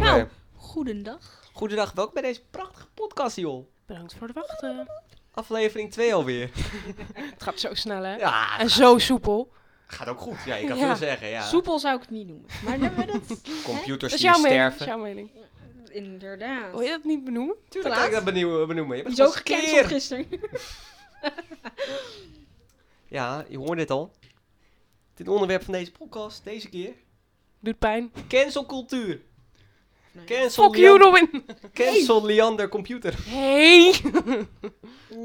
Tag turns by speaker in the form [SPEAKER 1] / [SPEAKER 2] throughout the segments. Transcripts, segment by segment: [SPEAKER 1] Nou.
[SPEAKER 2] Goedendag.
[SPEAKER 3] Nou, Goedendag, welkom bij deze prachtige podcast, joh.
[SPEAKER 1] Bedankt voor het wachten.
[SPEAKER 3] Aflevering 2 alweer.
[SPEAKER 1] Het gaat zo snel, hè?
[SPEAKER 3] Ja,
[SPEAKER 1] En zo soepel.
[SPEAKER 3] gaat ook goed. Ja, ik kan
[SPEAKER 1] Ja.
[SPEAKER 3] veel zeggen, ja.
[SPEAKER 2] Soepel zou ik het niet noemen. Maar dan maar dat...
[SPEAKER 1] Dat
[SPEAKER 3] Computers
[SPEAKER 1] is
[SPEAKER 3] die
[SPEAKER 1] jouw mening. Dat
[SPEAKER 3] sterven.
[SPEAKER 1] is jouw mening.
[SPEAKER 2] hè? Inderdaad.
[SPEAKER 1] Wil je dat niet benoemen?
[SPEAKER 3] Tuurlijk kan ik Oh dat benieuwen- benoemen. Je bent
[SPEAKER 2] Zo
[SPEAKER 3] gewoon
[SPEAKER 2] gecanceld
[SPEAKER 3] skeer.
[SPEAKER 2] gisteren.
[SPEAKER 3] Ja, je hoort het al. Dit onderwerp van deze podcast, deze keer.
[SPEAKER 1] Doet pijn.
[SPEAKER 3] Cancelcultuur.
[SPEAKER 2] Nee.
[SPEAKER 3] Cancel,
[SPEAKER 1] Fuck
[SPEAKER 3] Lian-
[SPEAKER 1] you, Robin.
[SPEAKER 3] cancel Liander Computer.
[SPEAKER 1] Hey. Is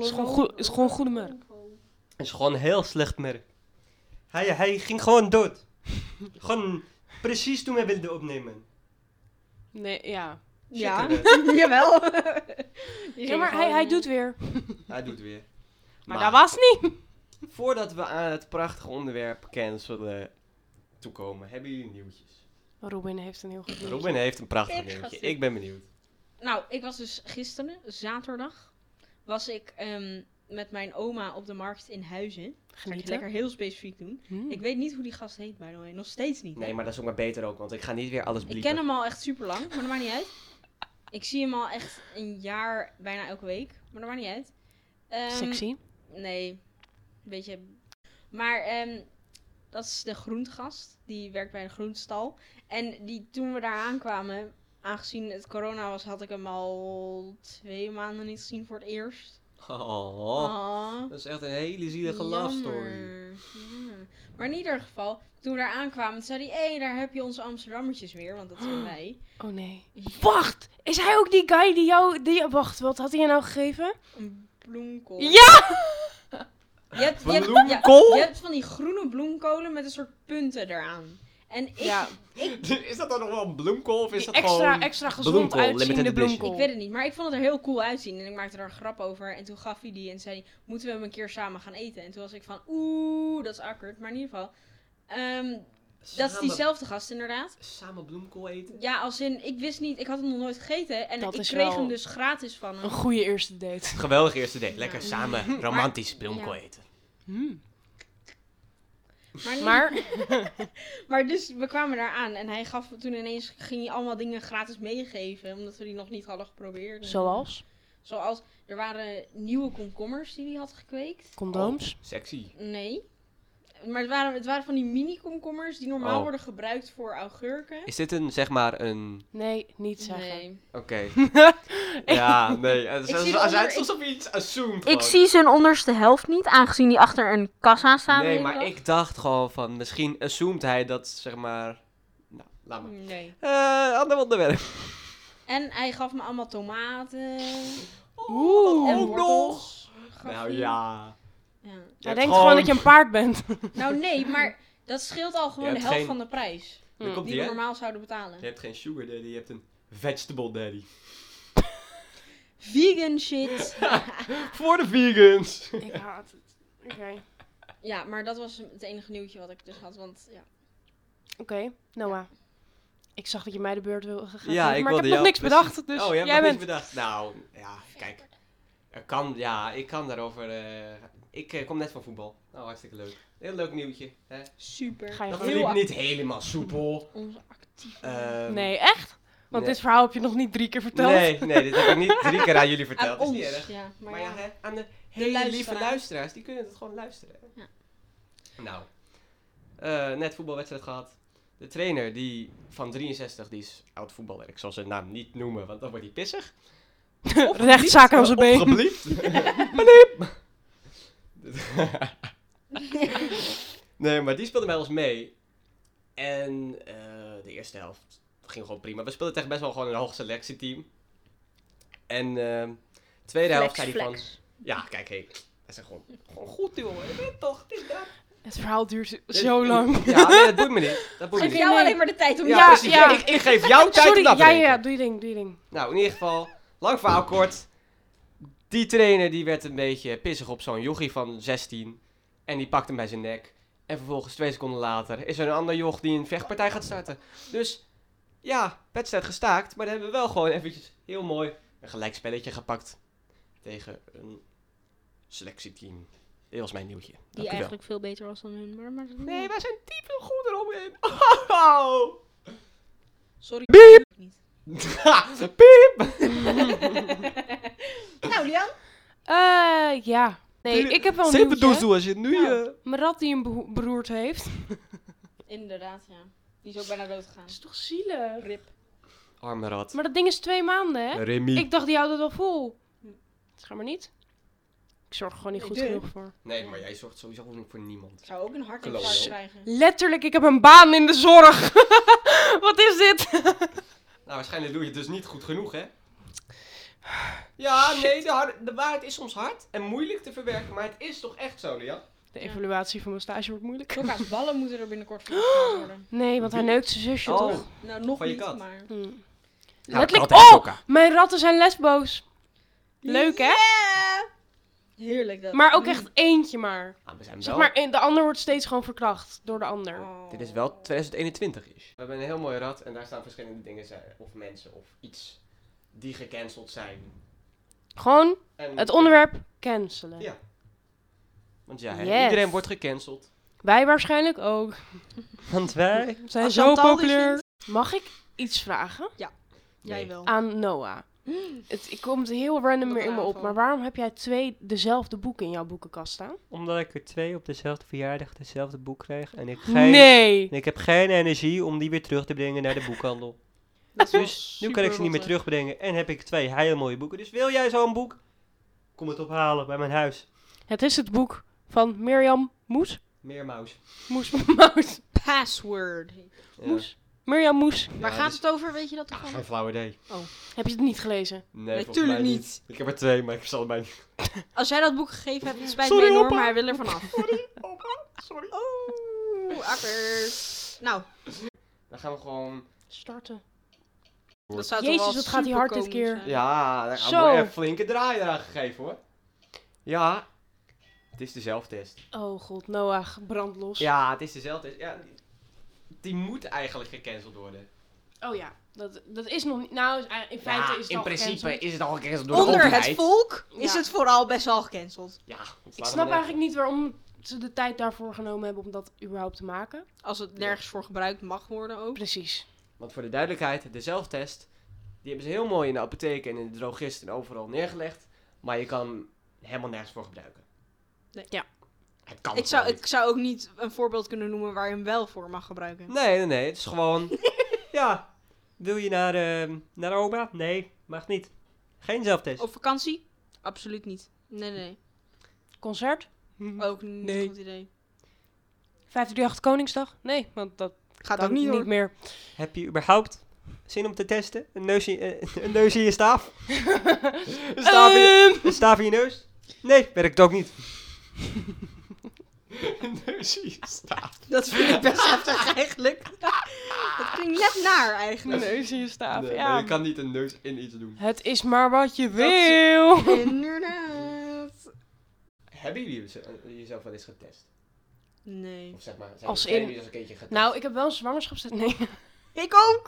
[SPEAKER 1] gewoon goed- is gewoon goede merk.
[SPEAKER 3] Dat is gewoon een heel slecht merk. Hij, hij ging gewoon dood. gewoon precies toen hij wilde opnemen.
[SPEAKER 1] Nee, ja.
[SPEAKER 2] Ja,
[SPEAKER 3] Shit,
[SPEAKER 2] jawel.
[SPEAKER 1] Ja, maar hij, hij doet weer. Maar,
[SPEAKER 3] Hij doet weer.
[SPEAKER 1] dat was niet.
[SPEAKER 3] Voordat we aan het prachtige onderwerp cancelen toekomen, hebben jullie nieuwtjes.
[SPEAKER 1] Robin heeft een heel goed nieuws.
[SPEAKER 3] Robin heeft een prachtig
[SPEAKER 2] Ik ga
[SPEAKER 3] nieuwtje.
[SPEAKER 2] zitten.
[SPEAKER 3] Ik ben benieuwd.
[SPEAKER 2] Nou, ik was dus gisteren, zaterdag, was ik ehm, met mijn oma op de markt in Huizen. Ga ik het
[SPEAKER 1] Genieten.
[SPEAKER 2] lekker heel specifiek doen.
[SPEAKER 1] Hmm.
[SPEAKER 2] Ik weet niet hoe die gast heet, by the way. Nog steeds niet.
[SPEAKER 3] Hm. Nee, maar dat is ook maar beter ook, want ik ga niet weer alles bliepen.
[SPEAKER 2] Ik ken hem al echt super lang, maar dat maakt niet uit. Ik zie hem al echt een jaar bijna elke week, maar dat maakt niet uit. Ehm,
[SPEAKER 1] Sexy.
[SPEAKER 2] Nee, een beetje. Maar ehm, dat is de groentegast, die werkt bij een groenstal. En die, toen we daar aankwamen, aangezien het corona was, had ik hem al twee maanden niet gezien voor het eerst.
[SPEAKER 3] Oh,
[SPEAKER 2] Ah.
[SPEAKER 3] dat is echt een hele zielige love story.
[SPEAKER 2] Jammer. Ja. Maar in ieder geval, toen we daar aankwamen, toen zei hij: Hé, daar heb je onze Amsterdammertjes weer, want dat zijn wij.
[SPEAKER 1] Oh nee.
[SPEAKER 2] Ja.
[SPEAKER 1] Wacht! Is hij ook die guy die jou... Die, wacht, wat had hij je nou gegeven?
[SPEAKER 2] Een bloemkool.
[SPEAKER 1] Ja!
[SPEAKER 2] Je hebt, je, hebt, ja,
[SPEAKER 3] Bloemkool?
[SPEAKER 2] je hebt van die groene bloemkolen met een soort punten eraan. En ik,
[SPEAKER 1] Ja,
[SPEAKER 3] Is dat dan nog wel een bloemkool of is
[SPEAKER 1] die
[SPEAKER 3] dat
[SPEAKER 1] extra,
[SPEAKER 3] gewoon...
[SPEAKER 1] extra gezond
[SPEAKER 3] bloemkool,
[SPEAKER 1] uitziende
[SPEAKER 3] limited edition.
[SPEAKER 1] bloemkool.
[SPEAKER 2] ik weet het niet, maar ik vond het er heel cool uitzien. En ik maakte er een grap over. En toen gaf hij die en zei hij, moeten we hem een keer samen gaan eten? En toen was ik van, oeh, dat is akkerd. Maar in ieder geval, ehm, dat is
[SPEAKER 3] Samen-
[SPEAKER 2] diezelfde gast inderdaad.
[SPEAKER 3] Samen bloemkool eten?
[SPEAKER 2] Ja, als in, ik wist niet, ik had hem nog nooit gegeten. En
[SPEAKER 1] Dat
[SPEAKER 2] ik
[SPEAKER 1] is
[SPEAKER 2] kreeg
[SPEAKER 1] wel-
[SPEAKER 2] hem dus gratis van hem.
[SPEAKER 1] Een goede eerste date.
[SPEAKER 3] Geweldig eerste date. Lekker
[SPEAKER 2] Ja.
[SPEAKER 3] samen romantisch bloemkool
[SPEAKER 2] ja.
[SPEAKER 3] eten.
[SPEAKER 1] Hmm.
[SPEAKER 2] Maar, in
[SPEAKER 1] Maar
[SPEAKER 2] Maar dus we kwamen daar aan en hij gaf toen ineens ging hij allemaal dingen gratis meegeven omdat we die nog niet hadden geprobeerd.
[SPEAKER 1] Zoals?
[SPEAKER 2] Zoals er waren nieuwe komkommers die hij had gekweekt.
[SPEAKER 1] Condooms.
[SPEAKER 3] Sexy.
[SPEAKER 2] Nee. Maar het waren, het waren van die mini komkommers die normaal
[SPEAKER 3] Oh.
[SPEAKER 2] worden gebruikt voor augurken.
[SPEAKER 3] Is dit een, zeg maar, een...
[SPEAKER 1] Nee, niet zeggen.
[SPEAKER 2] Nee.
[SPEAKER 3] Oké. ja, nee. Het is
[SPEAKER 2] Ik zie
[SPEAKER 3] als- als-
[SPEAKER 2] de onder-
[SPEAKER 3] het is alsof je iets assumed gewoon.
[SPEAKER 2] zijn onderste helft niet, aangezien die achter een kassa staat.
[SPEAKER 3] Nee, maar ik dacht gewoon van, misschien assumed hij dat, zeg maar... Nou, laat maar.
[SPEAKER 2] Nee.
[SPEAKER 3] Eh, ander onderwerp.
[SPEAKER 2] En hij gaf me allemaal tomaten
[SPEAKER 1] Oeh.
[SPEAKER 2] en
[SPEAKER 3] Ook nog?
[SPEAKER 2] wortels. Gaf
[SPEAKER 3] Nou ja.
[SPEAKER 2] hij. ja.
[SPEAKER 3] Je
[SPEAKER 1] Hij
[SPEAKER 3] hebt
[SPEAKER 1] denkt gewoon dat je een paard bent.
[SPEAKER 2] Nou nee, maar dat scheelt al gewoon de
[SPEAKER 3] hebt
[SPEAKER 2] helft
[SPEAKER 3] geen-
[SPEAKER 2] van de prijs.
[SPEAKER 3] Daar komt
[SPEAKER 2] Die
[SPEAKER 3] die,
[SPEAKER 2] we
[SPEAKER 3] hè?
[SPEAKER 2] normaal zouden betalen.
[SPEAKER 3] Je hebt geen sugar daddy, je hebt een vegetable daddy.
[SPEAKER 2] Vegan shit.
[SPEAKER 3] Voor de vegans.
[SPEAKER 1] Ik haat het. Oké.
[SPEAKER 2] ja, maar dat was het enige nieuwtje wat ik dus had. Want ja.
[SPEAKER 1] Oké, Noah. Ik zag dat je mij de beurt wilde gaan
[SPEAKER 3] Ja,
[SPEAKER 1] geven,
[SPEAKER 3] ik
[SPEAKER 1] maar
[SPEAKER 3] wilde
[SPEAKER 1] ik heb nog
[SPEAKER 3] jou
[SPEAKER 1] niks
[SPEAKER 3] precies-
[SPEAKER 1] bedacht. Dus
[SPEAKER 3] oh, je hebt
[SPEAKER 1] jij
[SPEAKER 3] nog
[SPEAKER 1] bent...
[SPEAKER 3] niets bedacht. Nou, ja, kijk. Er kan, ja, ik kan daarover... eh, ik eh, kom net van voetbal. Nou, hartstikke leuk. Heel leuk nieuwtje. Hè?
[SPEAKER 2] Super.
[SPEAKER 1] Ga je
[SPEAKER 3] Dat
[SPEAKER 1] Heel
[SPEAKER 3] liep
[SPEAKER 2] ac-
[SPEAKER 3] niet helemaal soepel.
[SPEAKER 2] Onze actieve.
[SPEAKER 3] Ehm,
[SPEAKER 1] Nee, echt? Want
[SPEAKER 3] nee.
[SPEAKER 1] dit verhaal heb je nog niet drie keer verteld.
[SPEAKER 3] Nee, nee, dit heb ik niet drie keer aan jullie verteld.
[SPEAKER 2] aan
[SPEAKER 3] Dat is
[SPEAKER 2] ons.
[SPEAKER 3] niet erg.
[SPEAKER 2] Ja, maar,
[SPEAKER 3] Maar ja,
[SPEAKER 2] ja.
[SPEAKER 3] hè, aan de hele lieve
[SPEAKER 2] luisteraar.
[SPEAKER 3] luisteraars, die kunnen het gewoon luisteren. hè.
[SPEAKER 2] Ja.
[SPEAKER 3] Nou, eh, net voetbalwedstrijd gehad. De trainer die van 63, die is oud voetballer. Ik zal zijn naam niet noemen, want dan wordt hij pissig.
[SPEAKER 1] Rechtszaak aan zijn been.
[SPEAKER 3] Geblieft. nee, maar die speelde bij ons mee. En eh, de eerste helft ging gewoon prima. We speelden tegen best wel gewoon een hoog selectieteam. En eh, tweede helft zei hij van... Ja, kijk, hé. Hij zegt gewoon, gewoon goed, jongen. Je weet toch, dit, dat.
[SPEAKER 1] Het verhaal duurt
[SPEAKER 3] Dus-
[SPEAKER 1] zo lang.
[SPEAKER 3] Ja, nee, dat boeit me niet. Dat boeit me
[SPEAKER 2] Geef
[SPEAKER 3] niet.
[SPEAKER 2] jou
[SPEAKER 1] nee.
[SPEAKER 2] alleen maar de tijd om
[SPEAKER 3] Ja,
[SPEAKER 2] ja.
[SPEAKER 3] precies.
[SPEAKER 1] ja.
[SPEAKER 3] Ik, ik geef jou tijd
[SPEAKER 1] Sorry,
[SPEAKER 3] om na te
[SPEAKER 1] ja, ja,
[SPEAKER 3] denken.
[SPEAKER 1] ja, doe je ding, doe je ding.
[SPEAKER 3] Nou, in ieder geval, lang verhaal kort. Die trainer die werd een beetje pissig op zo'n jochie van 16. En die pakt hem bij zijn nek. En vervolgens, twee seconden later, is er een ander joch die een vechtpartij gaat starten. Dus ja, wedstrijd gestaakt. Maar dan hebben we wel gewoon eventjes heel mooi een gelijkspelletje gepakt. Tegen een selectieteam. Dit was mijn nieuwtje. Dank u
[SPEAKER 2] Die
[SPEAKER 3] wel.
[SPEAKER 2] eigenlijk veel beter was dan hun. Maar, maar dat-
[SPEAKER 3] Nee, wij zijn diep veel goed erom in. Oh.
[SPEAKER 2] Sorry. Biep. Niet.
[SPEAKER 3] Piep!
[SPEAKER 2] nou, Lian.
[SPEAKER 1] Eh, ja. Nee,
[SPEAKER 3] Tuurlijk.
[SPEAKER 1] ik heb wel een
[SPEAKER 3] Zeven
[SPEAKER 1] nieuwtje. Nou.
[SPEAKER 3] doezoe als je het nu...
[SPEAKER 1] Ja.
[SPEAKER 3] eh,
[SPEAKER 1] Mijn rat die een beho- beroerd heeft.
[SPEAKER 2] Inderdaad, ja. Die is ook bijna dood gegaan.
[SPEAKER 1] Dat is toch zielig?
[SPEAKER 2] Rip.
[SPEAKER 3] Arme rat.
[SPEAKER 1] Maar dat ding is twee maanden, hè?
[SPEAKER 3] Remy.
[SPEAKER 1] Ik dacht, die houdt het wel vol. Het gaat maar niet. Ik zorg er gewoon niet
[SPEAKER 2] Nee,
[SPEAKER 1] goed
[SPEAKER 2] duh.
[SPEAKER 1] genoeg voor.
[SPEAKER 3] Nee, maar jij zorgt sowieso niet voor niemand.
[SPEAKER 2] Ik zou ook een
[SPEAKER 3] Klopt.
[SPEAKER 2] hartinfarct krijgen.
[SPEAKER 1] Letterlijk, ik heb een baan in de zorg. Wat is dit?
[SPEAKER 3] Nou, waarschijnlijk doe je het dus niet goed genoeg, hè? Ja, nee, de, har- de waarheid is soms hard en moeilijk te verwerken, maar het is toch echt zo, Lian?
[SPEAKER 1] De
[SPEAKER 2] Ja.
[SPEAKER 1] evaluatie van mijn stage wordt moeilijk.
[SPEAKER 2] Loka's ballen moeten er binnenkort verkocht worden.
[SPEAKER 1] Nee, want hij neukt zijn zusje,
[SPEAKER 3] Oh.
[SPEAKER 1] toch?
[SPEAKER 2] Nou, nog
[SPEAKER 3] Van je
[SPEAKER 2] niet,
[SPEAKER 3] kat.
[SPEAKER 2] maar...
[SPEAKER 1] Hm. Oh. Letterlijk, oh! Mijn ratten zijn lesbo's. Leuk, hè?
[SPEAKER 2] Yeah! Heerlijk dat.
[SPEAKER 1] Maar ook echt eentje maar.
[SPEAKER 3] Ah, we zijn
[SPEAKER 1] Zeg maar, eh, de ander wordt steeds gewoon verkracht door de ander.
[SPEAKER 2] Oh.
[SPEAKER 3] Dit is wel 2021 is. We hebben een heel mooi rad en daar staan verschillende dingen, zijn- of mensen, of iets, die gecanceld zijn.
[SPEAKER 1] Gewoon
[SPEAKER 3] En-
[SPEAKER 1] het onderwerp cancelen.
[SPEAKER 3] Ja. Want ja, hè,
[SPEAKER 1] Yes.
[SPEAKER 3] iedereen wordt gecanceld.
[SPEAKER 1] Wij waarschijnlijk ook.
[SPEAKER 3] Want wij?
[SPEAKER 1] We zijn
[SPEAKER 2] Als
[SPEAKER 1] zo
[SPEAKER 2] Chantal dus dit
[SPEAKER 1] populair. Mag ik iets vragen
[SPEAKER 2] Jij wel.
[SPEAKER 3] Ah,
[SPEAKER 1] aan Noah? Het het komt heel random
[SPEAKER 2] Oh. Wat
[SPEAKER 1] weer in me
[SPEAKER 2] een
[SPEAKER 1] op,
[SPEAKER 2] aanval.
[SPEAKER 1] maar waarom heb jij twee dezelfde boeken in jouw boekenkast staan?
[SPEAKER 4] Omdat ik er twee op dezelfde verjaardag hetzelfde boek kreeg. En ik, geen,
[SPEAKER 1] Nee!
[SPEAKER 4] en ik heb geen energie om die weer terug te brengen naar de boekhandel. Dus nu kan ik ze niet meer terugbrengen. En heb ik twee hele mooie boeken. Dus wil jij zo'n boek? Kom het ophalen bij mijn huis.
[SPEAKER 1] Het is het boek van Mirjam Moes.
[SPEAKER 3] Meer muis.
[SPEAKER 1] Moes Moes.
[SPEAKER 2] Password.
[SPEAKER 3] Ja.
[SPEAKER 1] Moes. Mirjam Moes.
[SPEAKER 2] Waar
[SPEAKER 3] Eh, Ja,
[SPEAKER 2] gaat
[SPEAKER 3] dus-
[SPEAKER 2] het over? Weet je dat
[SPEAKER 3] Ah,
[SPEAKER 2] toch
[SPEAKER 3] geen flauw idee.
[SPEAKER 1] Heb je het niet gelezen?
[SPEAKER 3] Nee,
[SPEAKER 2] Nee,
[SPEAKER 3] volgens
[SPEAKER 2] tuurlijk
[SPEAKER 3] mij
[SPEAKER 2] niet.
[SPEAKER 3] Ik heb er twee, maar ik zal mij niet.
[SPEAKER 2] Als jij dat boek gegeven hebt, het spijt
[SPEAKER 3] Sorry,
[SPEAKER 2] me enorm,
[SPEAKER 3] opa.
[SPEAKER 2] maar hij wil er vanaf.
[SPEAKER 3] Sorry.
[SPEAKER 2] Oeh, akkers. Nou,
[SPEAKER 3] Dan gaan we gewoon...
[SPEAKER 1] Starten.
[SPEAKER 2] dat zou toch
[SPEAKER 1] Jezus,
[SPEAKER 2] wel
[SPEAKER 1] wat gaat die hard dit
[SPEAKER 2] superkomisch
[SPEAKER 1] keer.
[SPEAKER 2] zijn.
[SPEAKER 3] Ja, daar
[SPEAKER 1] Zo.
[SPEAKER 3] hebben we een flinke draai eraan gegeven hoor. Ja, het is de zelftest.
[SPEAKER 1] Oh god, Noah, brand los.
[SPEAKER 3] Ja, het is de zelftest. Ja, die- die moet eigenlijk gecanceld worden.
[SPEAKER 1] Oh ja, dat, dat is nog niet... Nou, in feite is het al gecanceld.
[SPEAKER 3] is het al gecanceld
[SPEAKER 2] Onder het volk is
[SPEAKER 1] Ja.
[SPEAKER 2] het vooral best wel gecanceld.
[SPEAKER 3] Ja, het slaat
[SPEAKER 1] Ik
[SPEAKER 3] helemaal
[SPEAKER 1] snap
[SPEAKER 3] nergens
[SPEAKER 1] eigenlijk niet waarom ze de tijd daarvoor genomen hebben om dat überhaupt te maken.
[SPEAKER 2] Als het nergens voor gebruikt mag worden ook.
[SPEAKER 1] Precies.
[SPEAKER 3] op. Want voor de duidelijkheid, de zelftest, die hebben ze heel mooi in de apotheek en in de drogist en overal neergelegd. Maar je kan hem helemaal nergens voor gebruiken.
[SPEAKER 2] Nee.
[SPEAKER 1] Ja.
[SPEAKER 3] Het kan
[SPEAKER 2] Ik
[SPEAKER 3] gewoon
[SPEAKER 2] zou,
[SPEAKER 3] niet.
[SPEAKER 2] ik zou ook niet een voorbeeld kunnen noemen waar je hem wel voor mag gebruiken.
[SPEAKER 3] Nee, nee, nee. Het is gewoon...
[SPEAKER 4] Ja. Wil je naar, ehm, naar oma? Nee, mag niet. Geen zelftest.
[SPEAKER 2] Op vakantie? Absoluut niet. Nee, nee.
[SPEAKER 1] Concert? oh.
[SPEAKER 2] nee. Ook niet
[SPEAKER 1] Nee.
[SPEAKER 2] een goed idee.
[SPEAKER 1] 538 Koningsdag? Nee, want dat
[SPEAKER 2] Gaat
[SPEAKER 1] kan
[SPEAKER 2] ook niet hoor.
[SPEAKER 1] meer.
[SPEAKER 4] Heb je überhaupt zin om te testen? Een neus in, eh, een neus in je staaf? een, staaf in,
[SPEAKER 1] Ehm,
[SPEAKER 4] een staaf in je neus? Nee, werkt ook niet.
[SPEAKER 2] Dat vind ik best heftig eigenlijk. Dat klinkt net naar eigenlijk.
[SPEAKER 1] neus in je staaf,
[SPEAKER 3] Nee, eh, maar
[SPEAKER 1] ja.
[SPEAKER 3] je kan niet een neus in iets doen.
[SPEAKER 1] Het is maar wat je wil.
[SPEAKER 2] Inderdaad.
[SPEAKER 3] Hebben jullie jeze- jezelf wel eens getest?
[SPEAKER 2] Nee.
[SPEAKER 3] Of zeg maar, zijn
[SPEAKER 1] Als
[SPEAKER 3] zijn
[SPEAKER 1] in-
[SPEAKER 3] jullie eens een keertje getest?
[SPEAKER 1] Nou, ik heb wel een zwangerschapstest. Nee,
[SPEAKER 2] Ik ook.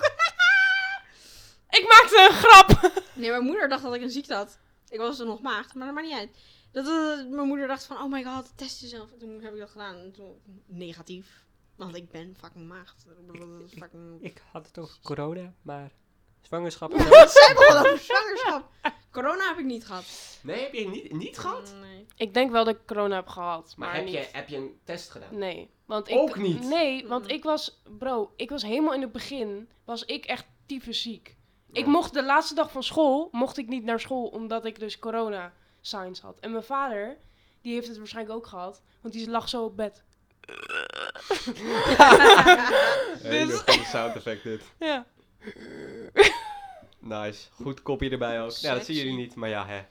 [SPEAKER 1] ik maakte een grap.
[SPEAKER 2] Nee, mijn moeder dacht dat ik een ziekte had. Ik was er nog maagd, maar dat maakt niet uit. Dat, eh, mijn moeder dacht van, oh my god, test jezelf. En toen heb ik dat gedaan. En toen, negatief. Want ik ben fucking maagd. Dat is Fucking...
[SPEAKER 4] Ik had het over corona, maar zwangerschap...
[SPEAKER 2] Wat zijn we al over zwangerschap? Corona heb ik niet gehad.
[SPEAKER 3] Nee, heb je niet, niet gehad?
[SPEAKER 2] Nee.
[SPEAKER 1] Ik denk wel dat ik corona heb gehad, maar,
[SPEAKER 3] Maar heb
[SPEAKER 1] niet.
[SPEAKER 3] je, heb je een test gedaan?
[SPEAKER 1] Nee, want ik...
[SPEAKER 3] Ook niet?
[SPEAKER 1] Nee, want
[SPEAKER 2] Mm-mm.
[SPEAKER 1] ik was... Bro, ik was helemaal in het begin... Was ik echt tyfus ziek. Ik
[SPEAKER 3] Ja.
[SPEAKER 1] mocht de laatste dag van school... Mocht ik niet naar school, omdat ik dus corona signs had. En mijn vader... Die heeft het waarschijnlijk ook gehad. Want die lag zo op bed. Dus-
[SPEAKER 3] Hele goede sound effect dit.
[SPEAKER 1] Ja.
[SPEAKER 3] Nice. Goed kopje erbij ook. Nou, dat zien jullie
[SPEAKER 2] Sexy.
[SPEAKER 3] niet, maar ja, hè.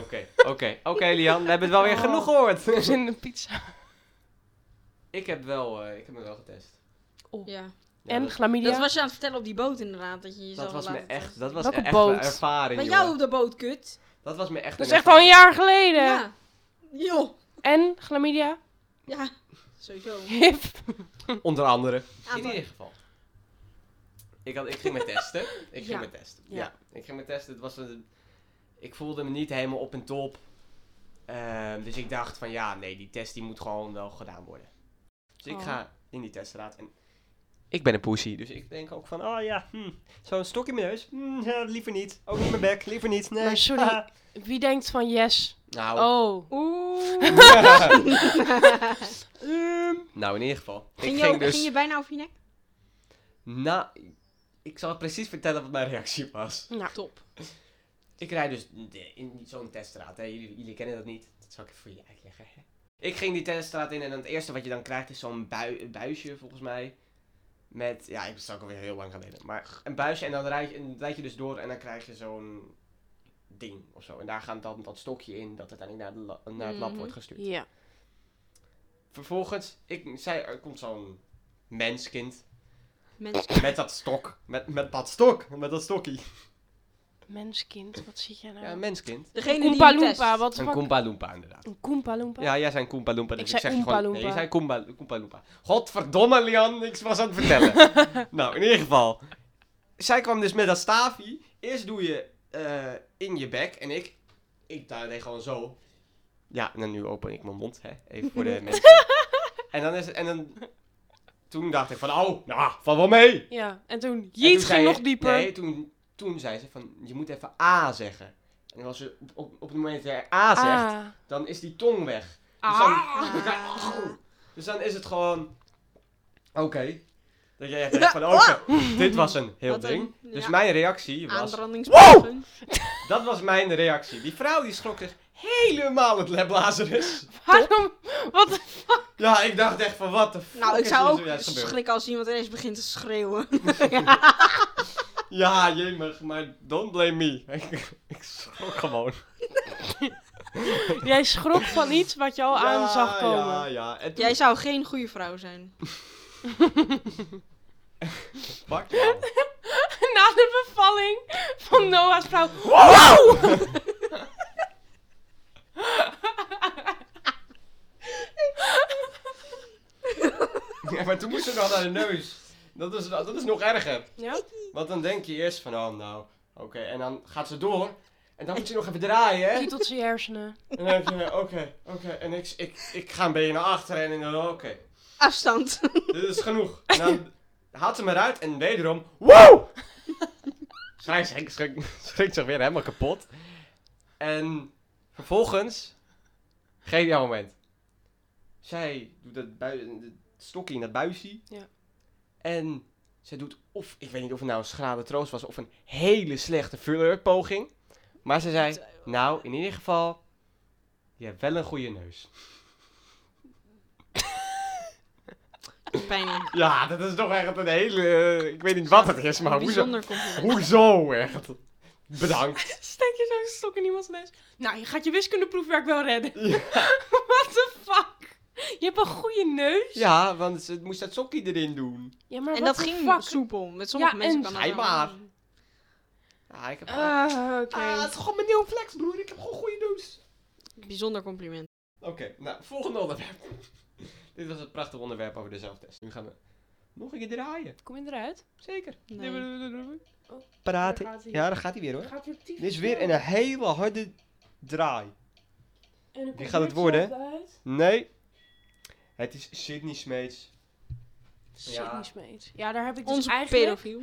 [SPEAKER 3] Oké, oké, oké, Lian. We hebben het wel
[SPEAKER 1] Oh.
[SPEAKER 3] weer genoeg gehoord.
[SPEAKER 1] Dus in de pizza.
[SPEAKER 3] ik heb wel, eh, ik heb me wel getest.
[SPEAKER 2] Ja.
[SPEAKER 3] Ja,
[SPEAKER 1] en
[SPEAKER 3] dat,
[SPEAKER 1] chlamydia.
[SPEAKER 2] Dat was je aan het vertellen op die boot inderdaad, dat je jezelf
[SPEAKER 3] dat was
[SPEAKER 2] had
[SPEAKER 3] me
[SPEAKER 2] laten
[SPEAKER 3] echt,
[SPEAKER 2] testen.
[SPEAKER 3] dat was
[SPEAKER 1] Welke
[SPEAKER 3] echt
[SPEAKER 1] boot?
[SPEAKER 3] een ervaring,
[SPEAKER 2] Bij
[SPEAKER 3] jongen.
[SPEAKER 2] jou op de boot, kut.
[SPEAKER 3] Dat was me echt
[SPEAKER 1] Dat
[SPEAKER 3] een
[SPEAKER 1] is echt al een
[SPEAKER 3] ervaring.
[SPEAKER 1] jaar geleden.
[SPEAKER 2] Ja. Joh.
[SPEAKER 1] En chlamydia.
[SPEAKER 2] Ja. Sowieso.
[SPEAKER 1] Hip.
[SPEAKER 3] Onder andere. In
[SPEAKER 2] Aantal-
[SPEAKER 3] ieder geval. Ik, had, ik ging me testen. Ik ging
[SPEAKER 1] Ja.
[SPEAKER 3] me testen. Ja.
[SPEAKER 1] Ja.
[SPEAKER 3] Ik ging me testen. Het was een, ik voelde me niet helemaal op en top. Ehm, dus ik dacht van ja, nee, die test die moet gewoon wel gedaan worden. Dus ik
[SPEAKER 1] Oh.
[SPEAKER 3] ga in die teststraat. En Ik ben een poesie, dus ik denk ook van, oh ja, hm, zo'n stok in mijn neus. Hm, ja, liever niet. Ook niet mijn bek, liever niet. Nee.
[SPEAKER 1] Maar sorry.
[SPEAKER 3] haha.
[SPEAKER 1] Wie denkt van yes?
[SPEAKER 3] Nou,
[SPEAKER 1] Oh.
[SPEAKER 2] Oeh.
[SPEAKER 3] nou, in ieder geval. Ik
[SPEAKER 2] Ging
[SPEAKER 3] ging,
[SPEAKER 2] je, ook-
[SPEAKER 3] dus...
[SPEAKER 2] ging je bijna over je nek?
[SPEAKER 3] Na, ik zal precies vertellen wat mijn reactie was.
[SPEAKER 1] Nou,
[SPEAKER 2] Top.
[SPEAKER 3] Ik rijd dus de- in zo'n teststraat. Hè. Jullie, jullie kennen dat niet. Dat zal ik even voor je uitleggen. hè. Ik ging die teststraat in en dan het eerste wat je dan krijgt is zo'n bui- buisje volgens mij. Met, ja, ik was ook alweer heel lang geleden. Maar een buisje en dan rijd je, en dan rijd je dus door en dan krijg je zo'n ding of zo. En daar gaat dan dat stokje in dat uiteindelijk naar, de la- naar het lab
[SPEAKER 2] Mhm.
[SPEAKER 3] wordt gestuurd.
[SPEAKER 1] ja.
[SPEAKER 3] Vervolgens, ik, zij, er komt zo'n menskind
[SPEAKER 2] Mensen.
[SPEAKER 3] met dat stok. Met, met dat stok, met dat stokkie.
[SPEAKER 1] Menskind, wat zit jij nou?
[SPEAKER 3] Ja, een menskind.
[SPEAKER 2] Degene die
[SPEAKER 1] Oompa
[SPEAKER 2] je test.
[SPEAKER 1] Loompa, wat de
[SPEAKER 3] Een
[SPEAKER 1] fuck?
[SPEAKER 3] Koompa Loompa, inderdaad.
[SPEAKER 1] Een Koompa Loompa?
[SPEAKER 3] Ja, jij zei een Koompa Loompa, dus
[SPEAKER 1] Ik
[SPEAKER 3] ik,
[SPEAKER 1] zei
[SPEAKER 3] zeg je
[SPEAKER 1] Oompa
[SPEAKER 3] gewoon...
[SPEAKER 1] Loompa.
[SPEAKER 3] Nee, je zei Koompa, Koompa Loompa. Godverdomme, Lian, niks was aan het vertellen. nou, in ieder geval. Zij kwam dus met dat staafje. Eerst doe je eh, in je bek en ik... Ik daar deed gewoon zo. Ja, en dan nu open ik mijn mond, hè. Even voor de mensen. En dan is het... En dan... Toen dacht ik van, oh, nou, val wel mee.
[SPEAKER 1] Ja, en toen,
[SPEAKER 3] En
[SPEAKER 1] jeet
[SPEAKER 3] toen zei
[SPEAKER 1] ging
[SPEAKER 3] je-
[SPEAKER 1] nog dieper.
[SPEAKER 3] Nee, toen, toen zei ze van, je moet even A zeggen. En als je op, op, op het moment dat je A zegt,
[SPEAKER 1] Ah.
[SPEAKER 3] dan is die tong weg. Dus dan,
[SPEAKER 2] Ah.
[SPEAKER 3] dus dan is het gewoon, oké. Dat jij echt denkt van, oké, dit was een heel
[SPEAKER 2] Wat
[SPEAKER 3] ding.
[SPEAKER 2] een-
[SPEAKER 3] Dus
[SPEAKER 2] ja.
[SPEAKER 3] mijn reactie was,
[SPEAKER 2] Aanbrandingspunten.
[SPEAKER 3] dat was mijn reactie. Die vrouw die schrok zich helemaal het lebblazer is.
[SPEAKER 1] Waarom? Wat? de-
[SPEAKER 3] Ja, ik dacht echt van, wat de fuck
[SPEAKER 2] Nou, ik
[SPEAKER 3] is
[SPEAKER 2] zou
[SPEAKER 3] hier
[SPEAKER 2] ook
[SPEAKER 3] zojuist gebeurd?
[SPEAKER 2] schrikken als iemand ineens begint te schreeuwen.
[SPEAKER 3] Ja, jemig, maar don't blame me. Ik, ik schrok gewoon.
[SPEAKER 1] Jij schrok van iets wat je al aan
[SPEAKER 3] Ja,
[SPEAKER 1] zag komen.
[SPEAKER 3] Ja, ja. En toen,
[SPEAKER 2] Jij zou geen goede vrouw zijn.
[SPEAKER 3] Fuck jou.
[SPEAKER 1] Na de bevalling van Noah's vrouw.
[SPEAKER 3] Ja, maar toen moest ze nog naar de neus. Dat is, dat is nog erger.
[SPEAKER 1] Ja?
[SPEAKER 3] Want dan denk je eerst van, oh nou, oké. En dan gaat ze door. En dan moet je nog even draaien, hè.
[SPEAKER 1] tot zijn hersenen.
[SPEAKER 3] En dan denk je, oké, oké. En ik, ik, ik ga een beetje naar achteren en dan, oké.
[SPEAKER 2] Afstand.
[SPEAKER 3] Dit is genoeg. En dan haalt ze me eruit en wederom, wow! Zij schrik- schrik- schrikt zich weer helemaal kapot. En vervolgens, geniaal moment. Zij doet dat bui- dat stokje in dat buisje.
[SPEAKER 1] Ja.
[SPEAKER 3] En zij doet, of ik weet niet of het nou een schrale troost was, of een hele slechte flirtpoging. Maar ze zei, nou, in ieder geval, je hebt wel een goede neus.
[SPEAKER 2] Pijnlijk.
[SPEAKER 3] Ja, dat is toch echt een hele, eh, ik weet niet wat het is, maar hoezo,
[SPEAKER 2] Bijzonder compliment.
[SPEAKER 3] Hoezo echt? Bedankt.
[SPEAKER 1] Steek je zo'n stok in iemands neus. Nou, je gaat je wiskundeproefwerk wel redden.
[SPEAKER 3] Ja.
[SPEAKER 1] What the fuck? Je hebt een goede neus.
[SPEAKER 3] Ja, want ze moest dat sokkie erin doen.
[SPEAKER 1] Ja, maar
[SPEAKER 2] En
[SPEAKER 1] what
[SPEAKER 2] dat
[SPEAKER 1] the
[SPEAKER 2] ging
[SPEAKER 1] fuck?
[SPEAKER 2] soepel. Met sommige
[SPEAKER 1] Ja,
[SPEAKER 2] mensen
[SPEAKER 1] en
[SPEAKER 2] kan dat
[SPEAKER 3] schijnbaar.
[SPEAKER 2] wel.
[SPEAKER 3] Ja, ik heb...
[SPEAKER 1] Ah, oké.
[SPEAKER 3] Ah, het is gewoon mijn nieuwe flex, broer. Ik heb gewoon goede neus.
[SPEAKER 2] Bijzonder compliment.
[SPEAKER 3] Oké, nou, volgende onderwerp. Dit was een prachtig onderwerp over de zelftest. Nu gaan we nog een keer draaien.
[SPEAKER 1] Kom je eruit?
[SPEAKER 3] Zeker.
[SPEAKER 2] Nee.
[SPEAKER 4] Praten.
[SPEAKER 1] Daar gaat hij.
[SPEAKER 3] Ja, daar gaat hij weer hoor.
[SPEAKER 1] Gaat er
[SPEAKER 4] Dit is weer een hele harde draai. Wie gaat het worden? Nee. Het is Sydney Smeets.
[SPEAKER 1] Ja. ja, daar heb ik dus
[SPEAKER 2] Onze
[SPEAKER 1] eigenlijk
[SPEAKER 2] pedofiel.